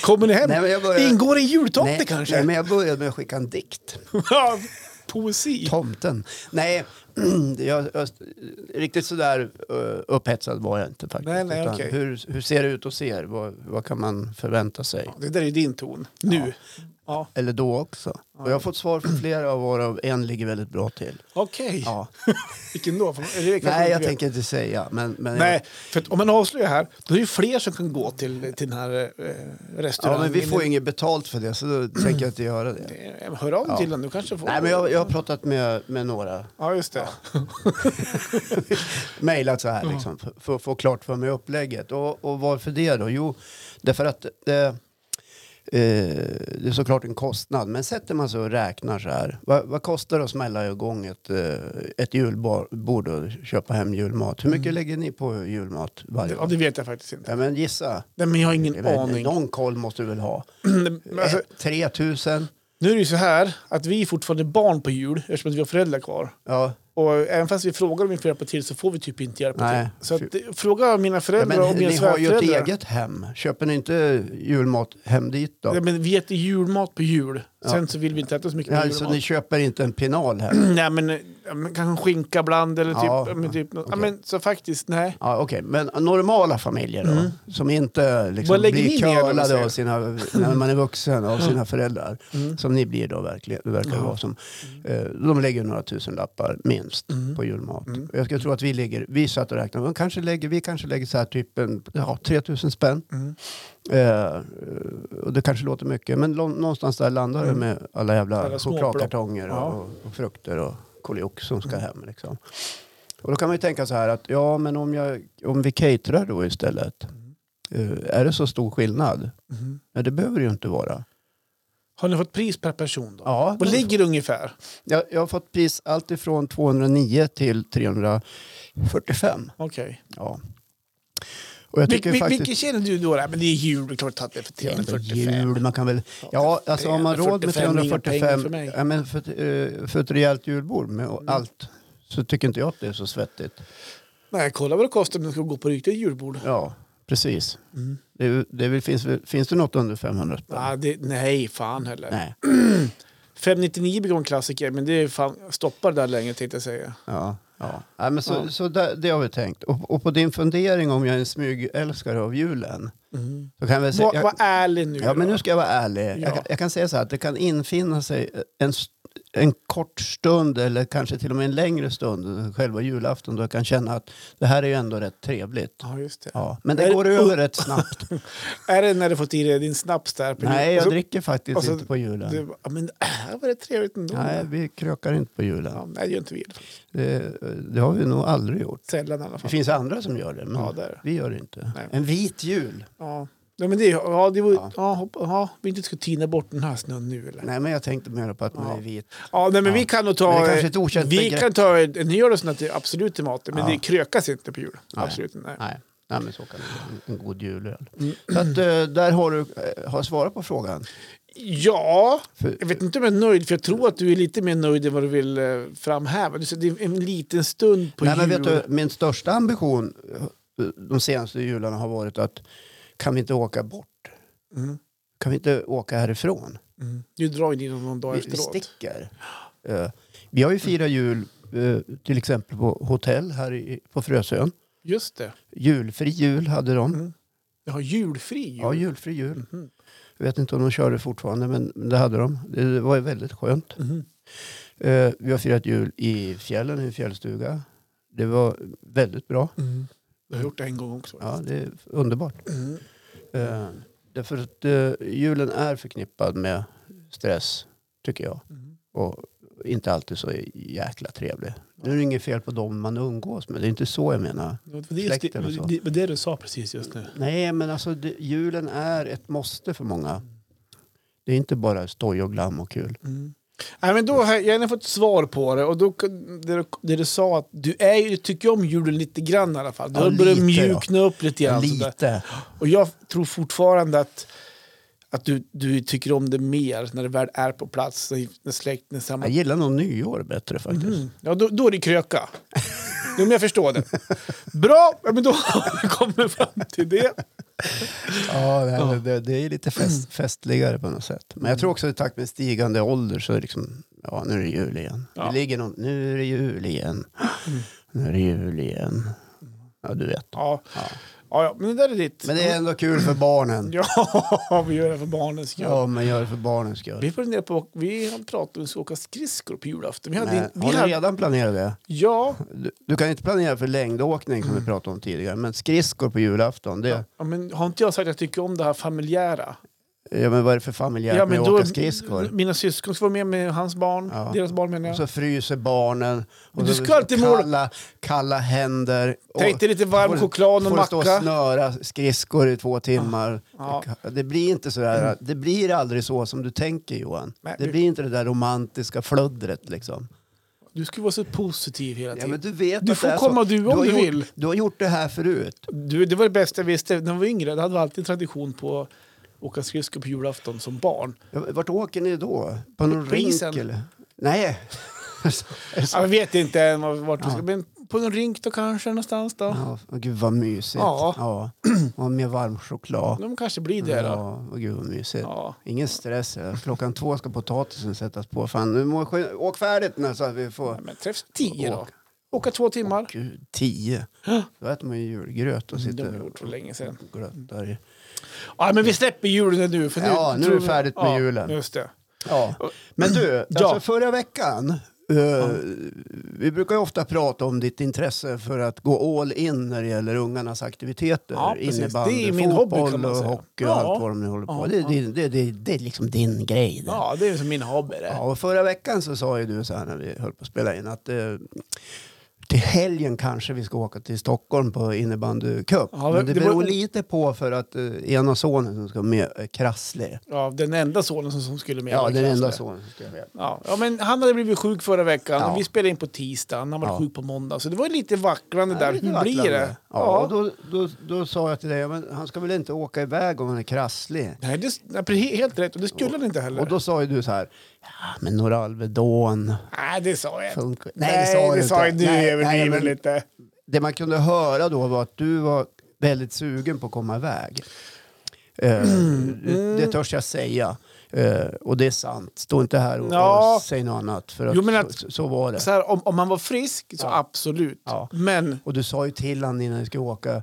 S2: Kommer ni hem?
S1: Nej, men jag börjar-
S2: Ingår i jultomte
S1: nej,
S2: kanske?
S1: Nej, men jag började med att skicka en dikt.
S2: (laughs) Ja, Poesi.
S1: tomten. Nej, (clears throat) jag, jag, riktigt sådär eh, upphetsad var jag inte faktiskt.
S2: Nej, nej,
S1: Utan
S2: okej.
S1: hur, hur ser det ut hos er? Vad, vad kan man förvänta sig?
S2: Det där är din ton. Nu. Ja.
S1: Eller då också. Och jag har fått svar från flera av våra en ligger väldigt bra till.
S2: Okej.
S1: Ja.
S2: Vilken då? Eller det kanske
S1: Nej,
S2: du
S1: jag
S2: vet.
S1: tänker inte säga. Men, men,
S2: Nej, för att om man avslöjar här, då är det ju fler som kan gå till, till den här eh,
S1: Ja,
S2: restaurangen.
S1: men vi får inget betalt för det, så då tänker jag inte göra det.
S2: Eh, Hör av dig till den, du kanske får...
S1: Nej, men jag, jag har pratat med, med några,
S2: Ja, just det.
S1: mejlat så här liksom, för, för att få klart för mig upplägget. Och, och varför det då? Jo, därför att det, eh, det är såklart en kostnad. Men sätter man sig och räknar så här, vad, vad kostar det att smälla igång ett, eh, ett julbord och köpa hem julmat? Hur mycket lägger ni på julmat varje
S2: Mm. Ja,
S1: år?
S2: det vet jag faktiskt inte.
S1: Ja, men gissa.
S2: Nej, men jag har
S1: Det är
S2: ingen
S1: väl-
S2: aning.
S1: Någon koll måste du väl ha?
S2: (clears throat)
S1: Eh,
S2: Men alltså,
S1: 3 000?
S2: nu är det ju så här att vi är fortfarande barn på jul eftersom att vi har föräldrar kvar.
S1: Ja.
S2: Och även fast vi frågar om vi får hjälpa till så får vi typ inte hjälpa
S1: Nej.
S2: till. Så att, eh, fråga mina
S1: Ja,
S2: föräldrar
S1: men
S2: och mina
S1: ni har ju ett
S2: svärföräldrar.
S1: eget hem. Köper ni inte julmat hem dit då?
S2: Nej, men vi äter julmat på jul. Sen så vill vi inte äta så mycket på
S1: Ja, så
S2: julmat.
S1: Alltså, ni köper inte en penal här?
S2: (clears throat) Nej, men, eh, ja, men kanske skinka bland eller typ...
S1: Ja,
S2: Ja, men, typ ja,
S1: okej.
S2: men, så faktiskt, nej.
S1: Ja, okej. Men normala familjer då? Som inte
S2: Mm. Vad
S1: liksom
S2: lägger ni
S1: blir
S2: ner då, om vi
S1: curlade
S2: säger?
S1: av sina, när man är vuxen av sina föräldrar. Som ni blir då verkligen, det verkar vara som. Eh, de lägger några tusen lappar minst
S2: Mm.
S1: på julmat. Jag skulle tro att vi lägger, vi satt och räknade, men kanske lägger, vi kanske lägger så här typ en, ja, 3000 spänn.
S2: mm,
S1: Eh, och det kanske låter mycket, men lång- någonstans där landar det med alla jävla
S2: Mm. Alla småplock.
S1: chokladkartonger
S2: Ja. Mm.
S1: och, och frukter och koljok som ska hem. Liksom. Och då kan man ju tänka så här att ja, men om, jag, om vi caterar då istället,
S2: Mm.
S1: eh, är det så stor skillnad? Nej, det behöver det ju inte vara.
S2: Har ni fått pris per person då?
S1: Ja,
S2: Vad ligger det ungefär?
S1: jag, jag har fått pris allt ifrån 209 till 345.
S2: Okej.
S1: Ja. Och jag
S2: Vil,
S1: tycker
S2: vil,
S1: faktiskt...
S2: Vilken känner du då? Nej, men det är jul, det är klart att det är för
S1: Det är ändå
S2: 345.
S1: jul, man kan väl... Ja, alltså har man råd med
S2: 345 är inga pengar
S1: 345,
S2: för mig. Mm.
S1: ja, men för, ett, eh, för ett rejält julbord med allt, så tycker inte jag att det är så svettigt.
S2: Nej, kolla vad det kostar om du ska gå på riktigt julbord.
S1: Ja, precis. Det, är ju- det är väl- finns, väl- finns det något under 500 spänn?
S2: Mm. Ja, det, nej, fan heller.
S1: Nej.
S2: 599 blir en klassiker, men det är fan, stoppar där länge tänkte jag säga.
S1: Ja, ja. Nej, men så,
S2: Ja.
S1: så där, det har vi tänkt. Och, och på din fundering om jag är en smygälskare av julen. Så kan jag väl säga, Mm.
S2: Var,
S1: jag,
S2: var ärlig nu.
S1: ja, men
S2: då.
S1: nu ska jag vara ärlig. Jag, kan- jag kan säga så här att det kan infinna sig en, st- en kort stund eller kanske till och med en längre stund själva julafton då jag kan känna att det här är ju ändå rätt trevligt.
S2: Ja, just det.
S1: Ja, men
S2: Är
S1: det
S2: det-
S1: går över rätt
S2: (laughs)
S1: snabbt.
S2: Är det när du fått i dig din snaps där? på
S1: Nej,
S2: jul?
S1: jag
S2: Så-
S1: dricker faktiskt
S2: och så-
S1: inte på julen.
S2: Du, ja, men det här var det trevligt ändå.
S1: Nej, vi krökar inte på julen.
S2: ja, nej det gör inte vi.
S1: Det, det har vi nog aldrig gjort.
S2: Sällan i alla
S1: Det
S2: fall.
S1: finns andra som gör det, men
S2: Ja, det är det.
S1: vi gör det inte.
S2: Nej.
S1: En vit jul.
S2: Ja. Ja, men det, ja, det var, ja.
S1: Ja.
S2: Ja, hopp, ja, vi inte ska tina bort den här snön nu eller?
S1: Nej, men jag tänkte mer på att man
S2: Ja.
S1: är vit.
S2: Ja, nej, men
S1: Ja.
S2: vi kan nog
S1: Men det är
S2: ta...
S1: kanske ett okänt
S2: vi
S1: begrepp.
S2: kan ta en en öl och sånt där, absolut till maten, men
S1: Ja.
S2: det krökas inte på jul.
S1: Nej.
S2: Absolut inte. Nej.
S1: Nej, nej
S2: Mm.
S1: men så kan det vara. En, en god julöl. Så att, eh, där har du eh, har jag svarat på frågan.
S2: Ja,
S1: För,
S2: jag vet inte om jag är nöjd, för jag tror att du är lite mer nöjd än vad du vill eh, framhäva. Du säger, det är en liten stund på
S1: nej, men
S2: jul.
S1: vet du, min största ambition eh, de senaste jularna har varit att kan vi inte åka bort?
S2: Mm.
S1: Kan vi inte åka härifrån?
S2: Mm. Du drar in någon någon dag
S1: Vi, vi
S2: efteråt.
S1: sticker. Eh, vi har ju firat jul eh, till exempel på hotell här i, på Frösön.
S2: Just det.
S1: Julfri jul hade de.
S2: Mm. Jag har julfri jul.
S1: Ja, julfri jul.
S2: Mhm.
S1: Jag vet inte om de kör det fortfarande, men det hade de. Det var ju väldigt skönt.
S2: Mhm.
S1: Eh, vi har firat jul i fjällen, i en fjällstuga. Det var väldigt bra.
S2: Mm. Jag har gjort det en gång också.
S1: Ja, det är underbart.
S2: Mm.
S1: Eh, därför att eh, julen är förknippad med stress, tycker jag.
S2: Mm.
S1: Och inte alltid så jäkla trevlig. Nu är det inget fel på dem man umgås med. Det är inte så jag menar.
S2: Det var det, just det,
S1: Släkten och så.
S2: det, var det du sa precis just nu.
S1: Nej, men alltså det, julen är ett måste för många. Det är inte bara stoj och glam och kul.
S2: Mm. Nej, men då har jag- jag har fått svar på det. Och då, det, du- det du sa att du är, ju- tycker om julen lite grann i alla fall. Du
S1: Ja,
S2: har börjat
S1: lite, ja.
S2: mjukna upp lite grann. sådär.
S1: Lite.
S2: Och jag tror fortfarande att, att du, du tycker om det mer när det väl är på plats, när när släkten är
S1: Jag
S2: samman.
S1: gillar nog nyår bättre faktiskt.
S2: Mm. Ja, då, då är det kröka. Jo, men jag förstår det. Bra, ja, men då har vi kommit fram till det.
S1: Ja, det, här- det, det är lite fest, festligare på något sätt. Men jag tror också i takt med stigande ålder så är det liksom, ja nu är det jul igen.
S2: Ja.
S1: Det ligger någon, nu är det jul igen. Nu är det jul igen. Ja, du vet.
S2: Ja,
S1: Ja.
S2: ja, ja men det där är ditt.
S1: Men det är ändå kul för barnen.
S2: Ja, (laughs) vi gör det för barnens skull.
S1: Ja, men gör det för barnens skull.
S2: Vi funderar på, vi har pratat om att vi ska åka skridskor på julafton. Vi hade,
S1: Men,
S2: vi
S1: har du
S2: hade,
S1: redan planerat det?
S2: ja,
S1: Du, du kan inte planera för längdåkning som vi pratade om tidigare, men skridskor på julafton, det,
S2: ja, men har inte jag sagt att jag tycker om det här familjära?
S1: ja, men vad är det för familjärt med att åka skridskor?
S2: Mina syskon ska vara med med hans barn,
S1: Ja.
S2: deras barn menar
S1: Och
S2: jag.
S1: så fryser barnen. Och
S2: du
S1: så
S2: ska alltid måla-
S1: kalla, kalla händer. Och
S2: Tänk dig lite varm
S1: får-
S2: choklad och
S1: får stå och
S2: macka.
S1: snöra skridskor i två timmar.
S2: Ja. Mm.
S1: Det blir inte så där, det blir aldrig så som du tänker Johan.
S2: Nej,
S1: det
S2: vi-
S1: blir inte det där romantiska flöddret liksom.
S2: Du skulle vara så positiv hela
S1: Ja,
S2: tiden.
S1: men du vet
S2: Du
S1: att
S2: får
S1: det är
S2: komma
S1: så.
S2: du om
S1: har
S2: du
S1: gjort,
S2: vill.
S1: Du har gjort det här förut.
S2: du, det var det bästa jag visste. När jag var yngre då hade vi alltid tradition på att åka skridskor på julafton som barn.
S1: Ja, Vart åker ni då? På någon
S2: På
S1: rink
S2: isen.
S1: eller?
S2: (laughs)
S1: Nej.
S2: Ja, jag vet inte än var- vart vi
S1: Ja.
S2: ska, men på någon rink då kanske någonstans då.
S1: Ja, åh, gud vad mysigt.
S2: Ja.
S1: Ja. Och med varm choklad.
S2: De kanske blir (clears throat) det då.
S1: Ja, åh, gud vad mysigt.
S2: Ja.
S1: Ingen stress. ja. Klockan två ska potatisen sättas på. Fan, nu må, skyn- åk färdigt nu så att vi får...
S2: Nej, men träffs tio då.
S1: Åka.
S2: Åka två timmar.
S1: Gud, tio. Då äter man ju julgröt och
S2: Det har
S1: sitter
S2: vi gjort för länge sedan.
S1: och glöttar i.
S2: Ja, men vi släpper julen nu. För nu
S1: Ja, nu är det färdigt med
S2: ja,
S1: julen.
S2: Just det.
S1: Ja. Men du,
S2: Ja.
S1: alltså förra veckan. eh, Vi brukar ju ofta prata om ditt intresse för att gå all in när det gäller ungarnas aktiviteter.
S2: Ja, precis.
S1: Innebandy,
S2: Det är min hobby,
S1: fotboll
S2: kan man
S1: och
S2: säga.
S1: hockey och
S2: Ja.
S1: allt vad de nu håller på
S2: Ja,
S1: det,
S2: ja.
S1: det, det, det, det är liksom din grej. Det.
S2: Ja, det är som min hobby det.
S1: Ja, och förra veckan så sa ju du så här när vi höll på att spela in att eh, till helgen kanske vi ska åka till Stockholm på innebandycup.
S2: Ja,
S1: men
S2: det
S1: det,
S2: var-
S1: beror lite på för att eh, ena sonen som ska med är krasslig.
S2: Ja, den enda sonen som, som skulle med.
S1: Ja,
S2: var
S1: den enda
S2: krasslig.
S1: sonen som ska med.
S2: Ja, ja, men han hade blivit sjuk förra veckan.
S1: Ja.
S2: Vi spelade in på tisdagen, han var
S1: Ja.
S2: sjuk på måndag. Så det var lite vacklande
S1: Ja,
S2: där.
S1: lite
S2: Hur blir
S1: vacklande.
S2: det?
S1: Ja, och då, då, då sa jag till dig, ja, men han ska väl inte åka iväg om han är krasslig?
S2: Nej, det, nej, precis, helt rätt. Och det skulle han inte heller.
S1: Och då sa ju du så här, ja men några Alvedon
S2: nej, det sa jag inte.
S1: funkar.
S2: det
S1: du
S2: sa jag inte. Nu
S1: Nej, nej,
S2: överdriver
S1: men
S2: lite.
S1: det man kunde höra då var att du var väldigt sugen på att komma iväg. Eh,
S2: Mm,
S1: det, det törs jag säga. Eh, och det är sant. Stå inte här och,
S2: Ja.
S1: och säg något annat. För att,
S2: Jo, men att-
S1: så, så var det.
S2: Så här, om, om han var frisk, så
S1: Ja.
S2: absolut.
S1: Ja.
S2: Men
S1: Och du sa ju till honom innan vi skulle åka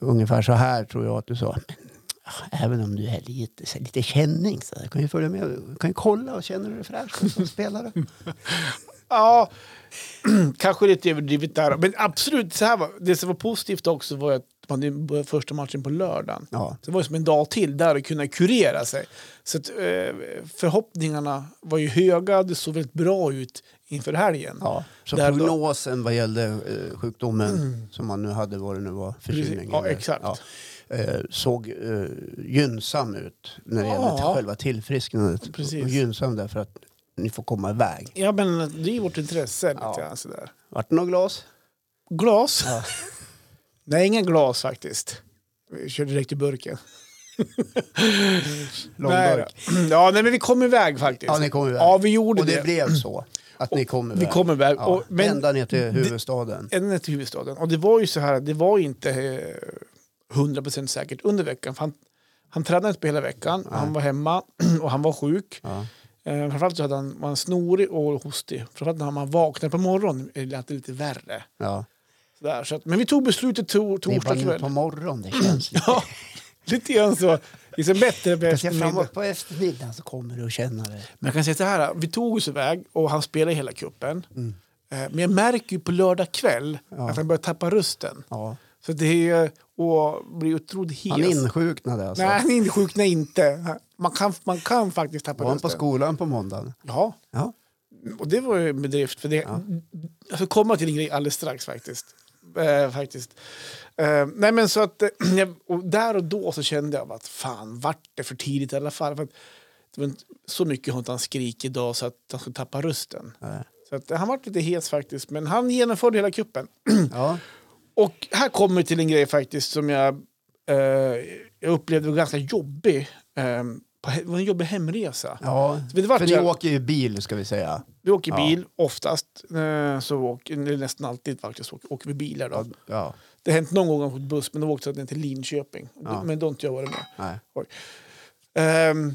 S1: ungefär så här tror jag att du sa. "Men, ah, Även om du är lite, så här, lite känning så här, kan ju följa med. Du kan ju kolla och känner du dig fräsch som
S2: (laughs)
S1: spelare.
S2: Ja, (clears throat) kanske lite överdrivet där. Men absolut, så här var, det som var positivt också var att man nu började första matchen på lördagen.
S1: Ja.
S2: Så det var ju som en dag till där att kunna kurera sig. Så att, eh, förhoppningarna var ju höga, det såg väldigt bra ut inför helgen.
S1: Ja, så
S2: Där då-
S1: prognosen vad gällde eh, sjukdomen som man nu hade, vad det nu var, förkylning.
S2: Precis, ja,
S1: eller-
S2: exakt.
S1: eh, såg eh, gynnsam ut när det
S2: Ja.
S1: gällde till själva tillfrisknandet.
S2: Precis.
S1: Och gynnsam därför att ni får komma iväg.
S2: Ja, men det är ju vårt intresse. Lite
S1: Ja.
S2: grann, sådär.
S1: Vart det något glas?
S2: Glas?
S1: Ja.
S2: (laughs) Nej, inga glas faktiskt. Vi kör direkt i burken. Nej, (clears throat)
S1: Långburk.
S2: då. ja, nej, men vi kom iväg faktiskt.
S1: Ja, ni kom iväg.
S2: Ja, vi gjorde
S1: och det,
S2: det.
S1: blev så. Att ni kom iväg.
S2: vi kom iväg.
S1: Ja,
S2: Och- men-
S1: ända ner till huvudstaden.
S2: ända till huvudstaden. Och det var ju så här, det var inte eh, 100% säkert under veckan. För han, han tränade inte på hela veckan, han var hemma (clears throat) och han var sjuk.
S1: Ja.
S2: Eh, framförallt så hade han, var han snorig och hostig. Framförallt när man vaknade på morgonen eh, lät det lite värre.
S1: Ja.
S2: Så där, så att, men vi tog beslutet to,
S1: Ni var
S2: torsdag
S1: nu
S2: kväll.
S1: på morgonen, det känns lite.
S2: (laughs) Ja, lite grann så. Liksom bättre
S1: (laughs)
S2: på
S1: Jag ser fram
S2: eftermiddag.
S1: emot på eftermiddagen så kommer du att känna det.
S2: Men jag kan säga så här, vi tog oss iväg och han spelade hela kuppen.
S1: Mm.
S2: Eh, Men jag märker ju på lördag kväll att han börjar tappa rösten.
S1: Ja.
S2: Så det är och blir otroligt hes.
S1: Han insjuknade alltså.
S2: Nej, han insjuknar inte. Man kan, man kan faktiskt tappa
S1: Var han på
S2: rösten.
S1: skolan på måndagen?
S2: Ja,
S1: Ja.
S2: och det var ju en bedrift. För det, Jag ska komma till en grej alldeles strax faktiskt. Eh, faktiskt. Eh, nej men så att, eh, (clears throat) jag- och där och då så kände jag att fan, vart det för tidigt i alla fall. För att, det var inte så mycket har inte han skrikit idag så att han skulle tappa rösten.
S1: Nej.
S2: Så att, han var lite hes faktiskt, men han genomförde hela kuppen.
S1: ja.
S2: Och här kommer vi till en grej faktiskt som jag, eh, jag upplevde var ganska jobbig. Eh, på, he- det var en jobbig hemresa.
S1: ja.
S2: Men det var
S1: För ni
S2: jag,
S1: åker ju bil ska vi säga.
S2: vi åker
S1: ja.
S2: bil oftast, eh, så åker, eller nästan alltid faktiskt åker, åker vi bilar. Då.
S1: Ja. ja.
S2: Det har hänt någon gång att jag åkt buss, men då åkte jag ner till Linköping.
S1: Ja.
S2: Men då har inte jag varit med.
S1: Nej.
S2: Ehm,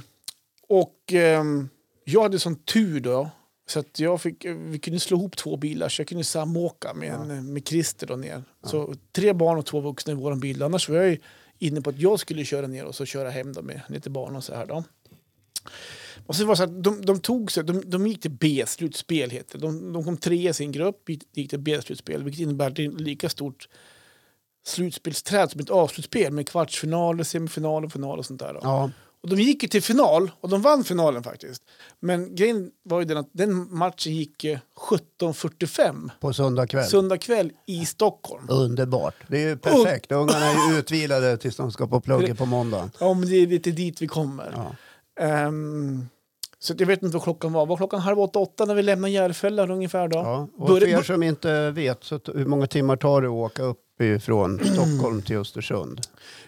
S2: och ehm, jag hade sån tur då, så att jag fick, vi kunde slå ihop två bilar så jag kunde samåka med, en, med Christer då ner. Så tre barn och två vuxna i vår bil. Annars var jag ju inne på att jag skulle köra ner och så köra hem dem med lite barn och så här då. Och så var det så att de, de tog sig, de, de gick till B-slutspel heter det. De, de kom tre i sin grupp, gick, gick till B-slutspel, vilket innebär att det är lika stort slutspelsträd som ett avslutspel med kvartsfinaler, semifinaler, final och sånt där. Då.
S1: Ja.
S2: Och de gick ju till final och de vann finalen faktiskt. Men grejen var ju den att den matchen gick eh, 17.45
S1: På söndag kväll.
S2: söndag kväll i Stockholm.
S1: Underbart. Det är ju perfekt. Ungarna är ju utvilade tills de ska på plugget på måndagen.
S2: Ja, men det är lite dit vi kommer.
S1: Ja.
S2: Ehm, så att jag vet inte vad klockan var. Var klockan halv åtta, åtta när vi lämnade Järfälla ungefär då?
S1: Ja. Och
S2: Börja-
S1: för er som inte vet, så t- hur många timmar tar det att åka uppifrån Stockholm till Östersund?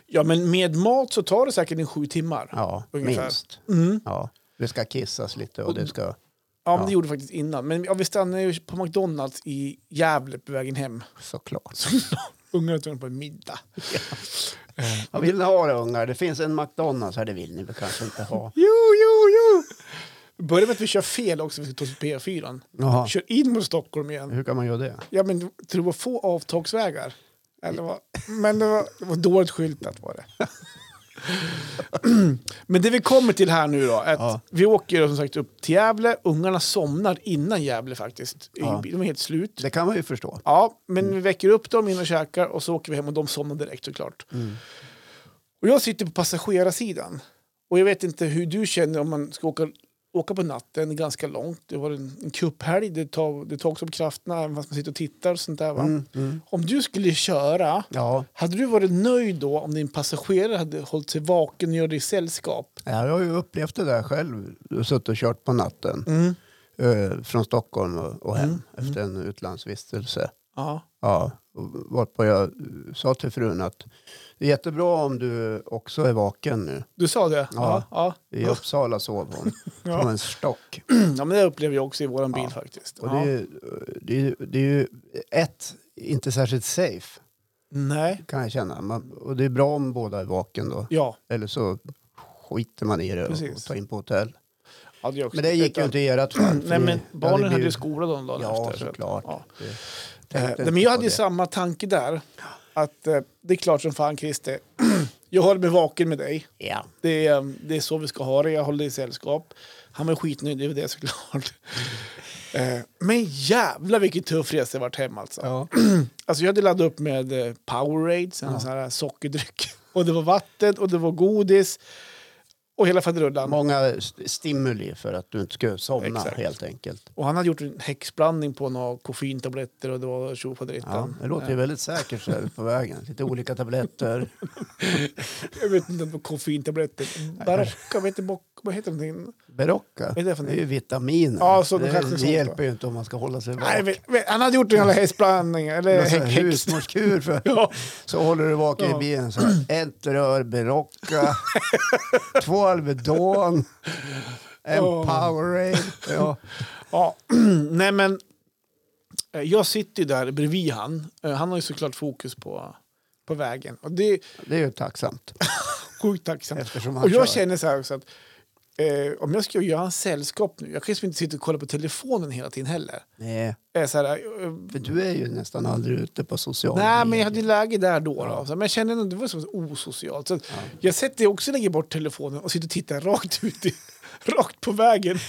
S2: ja, men med mat så tar det säkert en sju timmar.
S1: Ja,
S2: Ungefär.
S1: minst.
S2: Mm.
S1: Ja. Det ska kissas lite och det ska...
S2: Ja, men
S1: Ja.
S2: det gjorde vi faktiskt innan. Men ja, vi stannade ju på McDonalds i Gävle på vägen hem.
S1: Såklart.
S2: Så ungarna var tvungna på en middag.
S1: Vad vill ni ha då ungar? Det finns en McDonalds här, det vill ni väl kanske inte ha?
S2: Jo, jo, jo! Börjar med att vi kör fel också, vi ska ta oss på P4.
S1: Jaha.
S2: Kör in mot Stockholm igen.
S1: Hur kan man göra det?
S2: Ja, men tror du det var få avtagsvägar? Eller vad? Men det var, det var dåligt skyltat var det. (clears throat) men det vi kommer till här nu då, att
S1: Ja.
S2: vi åker då som sagt upp till Gävle. Ungarna somnar innan Gävle faktiskt.
S1: Ja.
S2: De är helt slut.
S1: Det kan man ju förstå.
S2: Ja, men vi väcker upp dem in och käkar och så åker vi hem och de somnar direkt såklart. Och jag sitter på passagerarsidan. Och jag vet inte hur du känner om man ska åka, åka på natten, det är ganska långt. Det var en, en cuphelg, det tar, det tar också på krafterna även fast man sitter och tittar och sånt där. Va?
S1: Mm,
S2: Om du skulle köra,
S1: Ja,
S2: hade du varit nöjd då om din passagerare hade hållit sig vaken och gjort dig sällskap?
S1: jag har ju upplevt det där själv. Suttit och kört på natten. Eh, från Stockholm och, och
S2: Mm,
S1: hem efter en utlandsvistelse.
S2: Ja.
S1: Ja, och varpå jag eh, sa till frun att det är jättebra om du också är vaken nu.
S2: Du sa det?
S1: Ja.
S2: Ja, (clears throat)
S1: I Uppsala sov hon
S2: (laughs) Ja.
S1: som en stock.
S2: ja. ja men det upplever jag också i våran bil faktiskt.
S1: Och det, är,
S2: Ja.
S1: ju- det, är, ju- det är ju ett, inte särskilt safe
S2: Nej.
S1: kan jag känna. Man, och det är bra om båda är vaken då.
S2: Ja,
S1: Eller så skiter man i det och
S2: Precis.
S1: tar in på hotell.
S2: ja, det gör jag också.
S1: Men det gick ju
S2: Utan-
S1: inte i ert fall. för
S2: Mm, Nej,
S1: ni-
S2: men
S1: det
S2: barnen hade ju
S1: blivit-
S2: skola de dagarna
S1: Ja,
S2: efter. så att-
S1: såklart.
S2: Ja.
S1: Det-
S2: Eh,
S1: tänkte
S2: nej,
S1: inte
S2: men jag
S1: på
S2: hade ju
S1: det.
S2: samma tanke där. Att eh, det är klart som fan, Christer. (clears throat) jag håller mig vaken med dig.
S1: Ja.
S2: Det är, eh, det är så vi ska ha det. Jag håller dig i sällskap. Han var ju skitnöjd över det såklart. (laughs) Eh, Men jävla vilken tuff resa det vart hem alltså.
S1: Ja.
S2: (clears throat) Alltså jag hade laddat upp med eh, Powerade, sen sån här sockerdryck. (laughs) Och det var vatten och det var godis. Och hela faderullan.
S1: Många st- stimuli för att du inte ska somna
S2: Exakt.
S1: helt enkelt.
S2: Och han hade gjort en häxblandning på några koffeintabletter och det var
S1: Ja,
S2: tjofaderittan.
S1: det låter ju väldigt säkert så här på vägen. Lite olika
S2: (laughs)
S1: tabletter.
S2: Jag vet inte om det var koffeintabletter. Barocka, vad heter, bock- vad heter någonting?
S1: Berocca.
S2: är det för
S1: Det är ju vitaminer.
S2: Ja, så det
S1: det
S2: kanske är så.
S1: det hjälper ju inte om man ska hålla sig
S2: Nej,
S1: vaken.
S2: vi- vi- han hade gjort en jävla hästblandning. Eller (laughs)
S1: Någon sån här
S2: häck, häck.
S1: Husmorskur för,
S2: (laughs) Ja.
S1: så håller du vaken
S2: Ja.
S1: i bilen. Så
S2: (clears throat)
S1: här, ett rör
S2: (laughs)
S1: Berocca, två Alvedon, en
S2: Ja.
S1: Powerade. Ja.
S2: Ja. (clears throat) Nej, men eh, jag sitter ju där bredvid han. Eh, Han har ju såklart fokus på, på vägen. Och det är
S1: Det är ju tacksamt
S2: sjukt tacksamt.
S1: eftersom han
S2: Och jag
S1: kör.
S2: känner så här också att eh, om jag ska göra en sällskap nu, jag kan liksom inte sitta och kolla på telefonen hela tiden heller.
S1: Nej,
S2: Eh, Så här, eh,
S1: för du är ju nästan aldrig ute på sociala
S2: Nej, men jag
S1: medier.
S2: hade ju läge där då. då. Så, men jag kände ändå att det var så osocialt. Så att Jag sätter också lägger bort telefonen och sitter och tittar rakt ut, i, (laughs) rakt på vägen.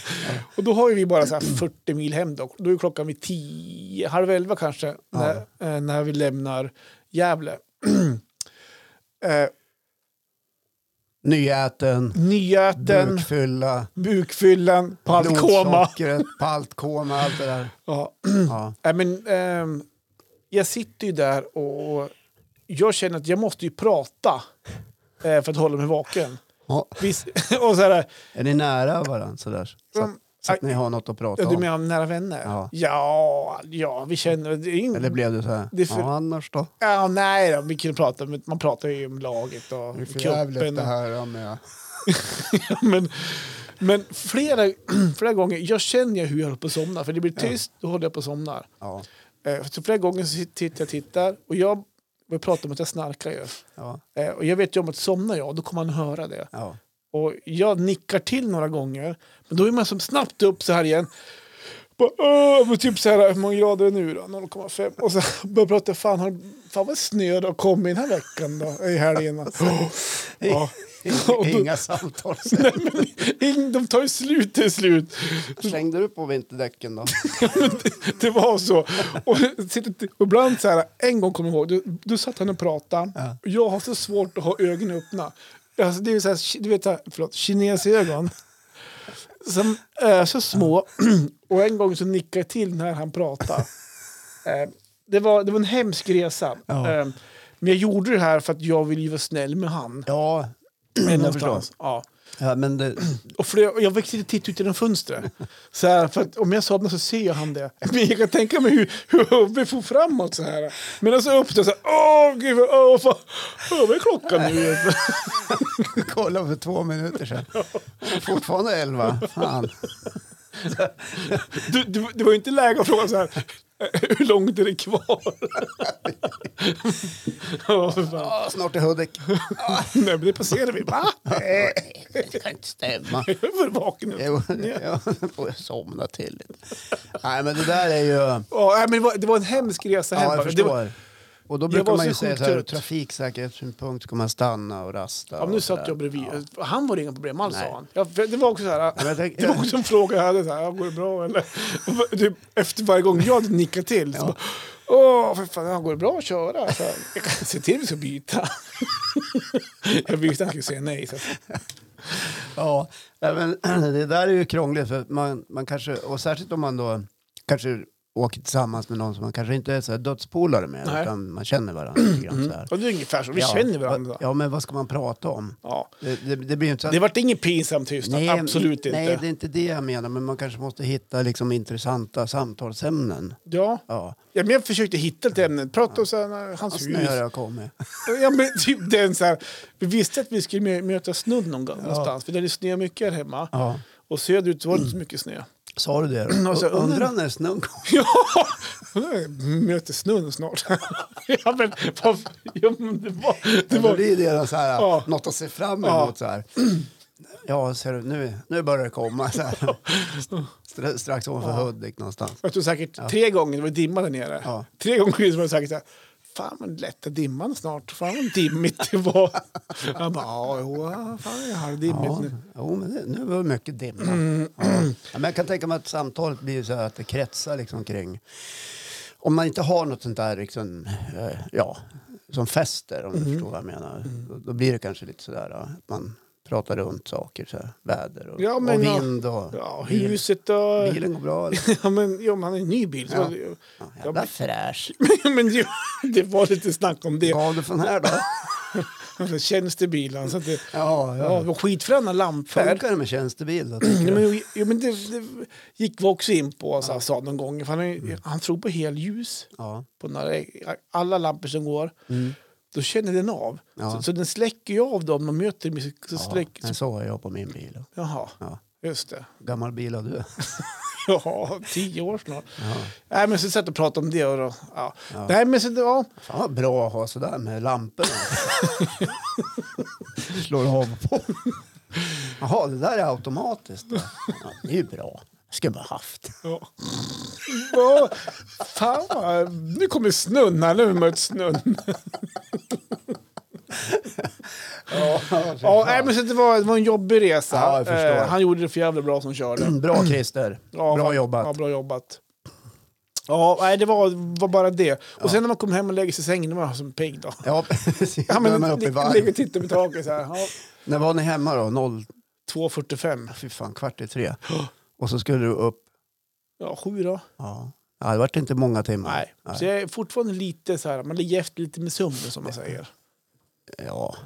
S2: Och då har ju vi bara så här 40 mil hem då. Då är klockan vid 10, halv elva kanske, när, eh, när vi lämnar Gävle. (clears throat) eh,
S1: Nyäten,
S2: nyäten,
S1: bukfylla,
S2: bukfyllan, paltkoma.
S1: blodsockret, paltkoma, allt det där.
S2: Ja.
S1: Ja.
S2: Nej, men, ehm, jag sitter ju där och jag känner att jag måste ju prata eh, för att hålla mig vaken.
S1: Ja.
S2: Visst, (laughs) och så här,
S1: Är ni nära varandra sådär? Så, att-
S2: Mm.
S1: så att ni har något att prata
S2: ja, du
S1: om?
S2: menar nära vänner?
S1: Ja.
S2: ja, ja, vi känner... Det är ing-
S1: Eller blev det så här?
S2: Det är för-
S1: Ja, annars då?
S2: ja, nej då, vi kunde prata, men man pratar ju om laget och cupen. och-
S1: här med...
S2: (laughs) Men, men flera, (clears throat) flera gånger, jag känner ju hur jag håller på att somna, för det blir tyst, då håller jag på att somna.
S1: Ja.
S2: Eh, Så flera gånger så tittar jag tittar, och jag vi pratar om att jag snarkar ju.
S1: Ja.
S2: Eh, Och jag vet ju om att somnar jag, då kommer han höra det. (laughs)
S1: ja.
S2: Och jag nickar till några gånger, men då är man som snabbt upp så här igen. Bara, "Åh", men typ så här, hur många grader är det nu då? 0,5. Och så (laughs) börjar jag prata, fan, har, fan vad snö det har kommit den här veckan då, i helgen. Oh, ja. (laughs) Och då-
S1: Inga samtal.
S2: Nej, men, ing- de tar ju slut till slut.
S1: Slängde du på
S2: (laughs)
S1: vinterdäcken då?
S2: Det var så. Och, sitter- och ibland så här, en gång kommer jag ihåg, du, du satt han och pratade.
S1: Ja.
S2: Och jag har så svårt att ha ögonen öppna. Alltså, det är ju så här, du vet, så här, förlåt, kinesögon. Som är så små. Och en gång så nickade jag till när han pratade. Eh, Det var, det var en hemsk resa.
S1: Ja.
S2: Eh, Men jag gjorde det här för att jag vill ju vara snäll med han.
S1: Ja,
S2: Någonstans. Ja.
S1: ja men
S2: (laughs)
S1: det,
S2: Och för jag, jag växte lite titt ut genom fönstret. Så här, för att om jag somnar så ser jag han det. Men jag kan tänka mig hur, hur vi får framåt så här. Men så upp där så här, åh gud, vad- åh fan, åh, vad är klockan nu?
S1: kolla för två minuter sedan. Fortfarande elva. Fan.
S2: Du, du, det var ju inte läge att fråga så här, hur långt är det kvar? Ja, för fan.
S1: Ja, snart är Hudik.
S2: Nej, men det passerade vi. Va? Nej,
S1: Det kan inte stämma.
S2: jag är för vaken nu.
S1: Jo, ja, får jag somna till lite. Nej, men det där är ju...
S2: Ja, nej, men det, var, det var en hemsk resa hem.
S1: Ja, jag
S2: Det var,
S1: förstår. Och då
S2: var
S1: brukar man
S2: så
S1: ju säga
S2: sjukt
S1: så här, ur
S2: trött.
S1: trafiksäkerhetssynpunkt ska man stanna och rasta.
S2: Ja, men nu
S1: och så
S2: satt
S1: där.
S2: jag bredvid. Han var det inga problem alls,
S1: Nej.
S2: sa han. Ja, för det var också så här,
S1: men jag tänk-
S2: det var också en fråga jag hade, så här, ja, går det bra eller? Typ, efter varje gång jag nickade till så bara, åh, för fan, ja, går det bra att köra? Så här, jag kan se till att vi
S1: (laughs)
S2: ska byta. jag visste att han skulle säga nej. Så att,
S1: Ja, nej, men (clears throat) det där är ju krångligt. För man, man kanske, och särskilt om man då kanske åker tillsammans med någon som man kanske inte är så här dödspolare med.
S2: Nej.
S1: Utan man känner varandra lite grann. Så här.
S2: och det är ungefär så, (clears throat) vi
S1: Ja,
S2: känner varandra.
S1: vad- Ja, men vad ska man prata om?
S2: Ja.
S1: Det, det, det blir ju inte så att...
S2: Det vart ingen pinsam tystnad, absolut inte.
S1: Nej, det är inte det jag menar. Men man kanske måste hitta liksom, intressanta samtalsämnen.
S2: Ja.
S1: Ja,
S2: Ja, men jag försökte hitta ett ämne, prata om så här,
S1: och
S2: hans
S1: snö
S2: hus.
S1: har jag kommit.
S2: Ja, men typ den så här, vi visste att vi skulle mö- möta snön någon gång någonstans, för det hade snö mycket här hemma.
S1: Ja.
S2: Och söderut var det inte så mycket snö.
S1: Sa du det?
S2: (clears throat)
S1: då?
S2: Och så undrar-
S1: Undrar när snön kommer.
S2: Ja, möter snön snart. (laughs) ja, men, vad, ja, men det var... (laughs) Det
S1: Det, var...
S2: var
S1: det är ju redan så här,
S2: Ja.
S1: något att se fram
S2: Ja.
S1: emot. Så här. Ja, ser du, nu, nu börjar det komma. Så
S2: (clears throat)
S1: här. Stra- Strax ovanför Hudik någonstans.
S2: jag tror säkert tre gånger, det var dimma där nere.
S1: Ja.
S2: Tre gånger var det säkert så här, fan vad lätta dimman snart, fan vad dimmigt det var.
S1: (laughs)
S2: Han bara, ja, jo, ja, fan det Mm. är halvdimmigt
S1: Ja,
S2: nu.
S1: jo, men det, nu var det mycket dimma. Ja. Ja, men jag kan tänka mig att samtalet blir så här att det kretsar liksom kring... Om man inte har något sånt där liksom, eh, ja, som fäster, om du
S2: Mm.
S1: förstår vad jag menar. Då, då blir det kanske lite sådär ja, att man pratar runt saker, så här, väder och,
S2: Ja, men,
S1: och
S2: ja.
S1: vind och...
S2: Ja,
S1: bil-
S2: huset och...
S1: Bilen går bra. Eller?
S2: (laughs) Ja, men, ja, man har en ny bil. Så,
S1: Ja.
S2: (laughs) ja.
S1: Ja, jävla fräsch.
S2: men det, det var lite snack om det. (laughs)
S1: Gav du från här då?
S2: Tjänstebilen. Så att det,
S1: Ja,
S2: ja,
S1: ja.
S2: det var skitfräna lampor.
S1: Funkar det med tjänstebil då?
S2: Ja,
S1: tycker du?
S2: men, ja, men det, det gick vi också in på så här, sa någon gång. För han,
S1: Mm.
S2: är- han tror på helljus.
S1: Ja.
S2: På några, alla lampor som går.
S1: Mm.
S2: Då känner den av.
S1: Ja.
S2: Så, så den släcker ju av dem. Man möter dem. Så, så
S1: Ja,
S2: släck,
S1: men
S2: så,
S1: så har jag på min bil.
S2: jaha,
S1: Ja.
S2: just det. (laughs)
S1: Gammal bil har du.
S2: Ja, tio år snart.
S1: Ja.
S2: Nej, men så satt och pratade om det. Och då, ja.
S1: Ja.
S2: Nej, men så, ja,
S1: Fan vad bra att ha sådär med
S2: (laughs)
S1: lamporna. Slår av på. Jaha, det där är automatiskt. då. Ja, det är ju bra. Skulle bara haft.
S2: Ja. Vad- Fan vad... Nu kommer snön här. Nu har vi mött snön.
S1: Ja,
S2: Ja, nej, men så det, var, det var en jobbig resa. Eh,
S1: Ja, jag förstår.
S2: han gjorde det för jävla bra som körde.
S1: Bra Christer.
S2: Ja,
S1: bra
S2: fan-
S1: jobbat.
S2: Ja, bra jobbat. Ja, nej, det var, var bara det. Och sen när man kom hem och lägger sig i sängen, då var jag som pigg då.
S1: Ja, precis.
S2: Ja, men,
S1: Värmer upp i varv.
S2: ligger och tittar på taket så här. Ja,
S1: När var ni hemma då? Noll,
S2: 2.45.
S1: fy fan, kvart i tre. Och så skulle du upp.
S2: Ja, sju då.
S1: Ja, ja det vart inte många timmar.
S2: Nej. Så jag är fortfarande lite så här, man ligger efter lite med sömnen som man säger.
S1: Ja,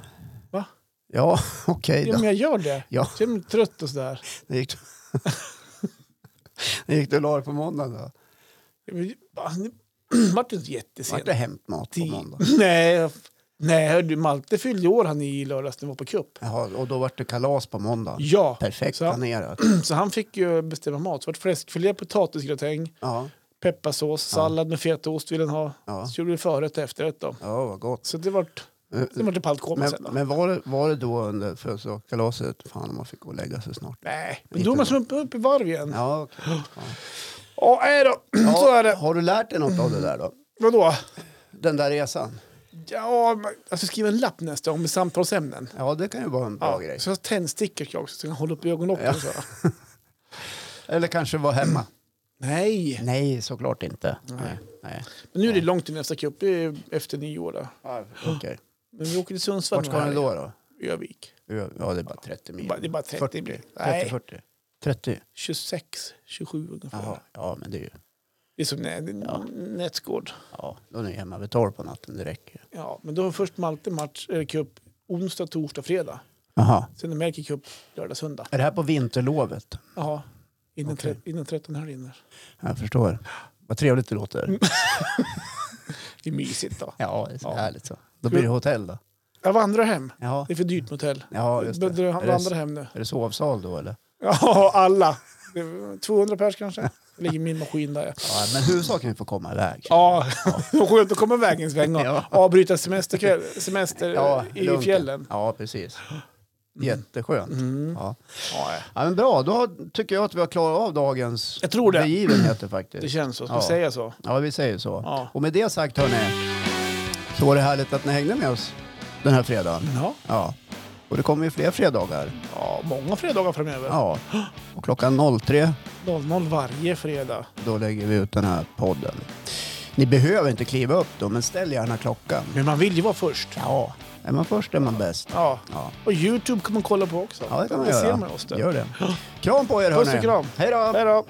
S2: Va?
S1: ja (laughs) okej
S2: Ja,
S1: då.
S2: men jag gör det.
S1: Ja.
S2: Jag känner mig trött och så där.
S1: Det gick, (laughs) det gick du och la dig på måndagen då?
S2: Ja, men, han (clears throat) vart det inte jättesent?
S1: Vart det hämtmat på
S2: Ti-
S1: måndag?
S2: Nej, nej hördu, Malte fyllde år han i lördags när vi var på cup.
S1: Jaha, och då vart det kalas på måndagen?
S2: Ja,
S1: Perfekt
S2: Så-
S1: planerat.
S2: (clears throat) så han fick ju bestämma mat. Så vart fläskfilé, potatisgratäng,
S1: Ja,
S2: pepparsås, sallad med fetaost ville han ha.
S1: Ja.
S2: Så gjorde vi förrätt och efterrätt då.
S1: ja vad gott.
S2: Så det vart,
S1: Eh,
S2: det vart det paltkoma sen då.
S1: Men, men var, det, var det då under födelsedagskalaset? Fan, man fick gå och lägga sig snart.
S2: Nej, men
S1: inte
S2: då är
S1: bra.
S2: man som uppe upp i varv igen.
S1: Ja, okej. ja.
S2: Ja, nej då. (clears throat)
S1: ja,
S2: (gasps) Så är det.
S1: Har du lärt dig något av det där då?
S2: Vadå?
S1: Den där resan?
S2: Ja, men- jag ska skriva en lapp nästa gång med samtalsämnen.
S1: Ja, det kan ju vara en bra
S2: Ja,
S1: grej.
S2: så jag har tändstickor kvar också så jag kan hålla upp ögonlocken.
S1: Ja.
S2: och Så här.
S1: Eller kanske vara hemma.
S2: Nej,
S1: Nej, såklart inte. Nej. Nej.
S2: men nu är det långt till nästa cup. Det är efter nyår. Då.
S1: Okej.
S2: Men vi åker till Sundsvall
S1: Vart
S2: nu
S1: ska
S2: här
S1: ni då? då?
S2: i Övik.
S1: Ja, det är bara 30
S2: Det är
S1: mil.
S2: bara- det är bara 30
S1: 40.
S2: blir. Nej.
S1: 30, 40. 30?
S2: 26, 27 ungefär.
S1: Jaha, ja men det är ju...
S2: Det är som nä, det är en nätsgård.
S1: Ja, då är ni hemma vid 12 på natten, det räcker ju.
S2: Ja, men då har först Malte match, eller cup, onsdag, torsdag, fredag.
S1: Jaha.
S2: Sen är Melker cup lördag, söndag.
S1: Är det här på vinterlovet?
S2: Ja, innan,
S1: Okej.
S2: tre, innan 13 här inne.
S1: Jag förstår. Vad trevligt det
S2: Mm.
S1: låter.
S2: Det är mysigt då.
S1: Ja, det är så
S2: Ja.
S1: härligt så. Då blir det hotell då?
S2: Jag vandrar hem.
S1: Ja,
S2: Det är för dyrt med hotell.
S1: ja just det.
S2: Jag
S1: Är
S2: vandrar
S1: det,
S2: hem nu.
S1: är det sovsal då eller?
S2: Ja, alla. Det är 200 pers kanske. Det ligger min maskin där. ja.
S1: Ja, men huvudsaken är att få komma iväg.
S2: Ja, (laughs) skönt att komma iväg en sväng och
S1: Ja.
S2: avbryta semesterkväll, semester
S1: Ja,
S2: i
S1: lugnt.
S2: fjällen. Mm.
S1: Ja, precis. Jätteskönt. Ja.
S2: Ja,
S1: Ja, men bra, då har- tycker jag att vi har klarat av dagens
S2: Jag tror det.
S1: begivenheter
S2: det
S1: faktiskt.
S2: känns så. Ska vi
S1: Ja.
S2: säga så?
S1: Ja, vi säger så.
S2: Ja.
S1: Och med det sagt hörni, så var det härligt att ni hängde med oss den här fredagen.
S2: Ja,
S1: Ja. Och det kommer ju fler fredagar.
S2: ja många fredagar framöver.
S1: Ja. Och klockan 03
S2: 00 varje fredag.
S1: då lägger vi ut den här podden. Ni behöver inte kliva upp då, men ställ gärna klockan.
S2: Men man vill ju vara först.
S1: Ja, är man först är man bäst.
S2: Ja.
S1: Ja,
S2: Och Youtube kan man kolla på också.
S1: ja det kan man
S2: Där
S1: göra.
S2: ser man oss där.
S1: Gör det. Kram på er
S2: Puss och
S1: hörni.
S2: kram.
S1: Hej då.
S2: Hej då!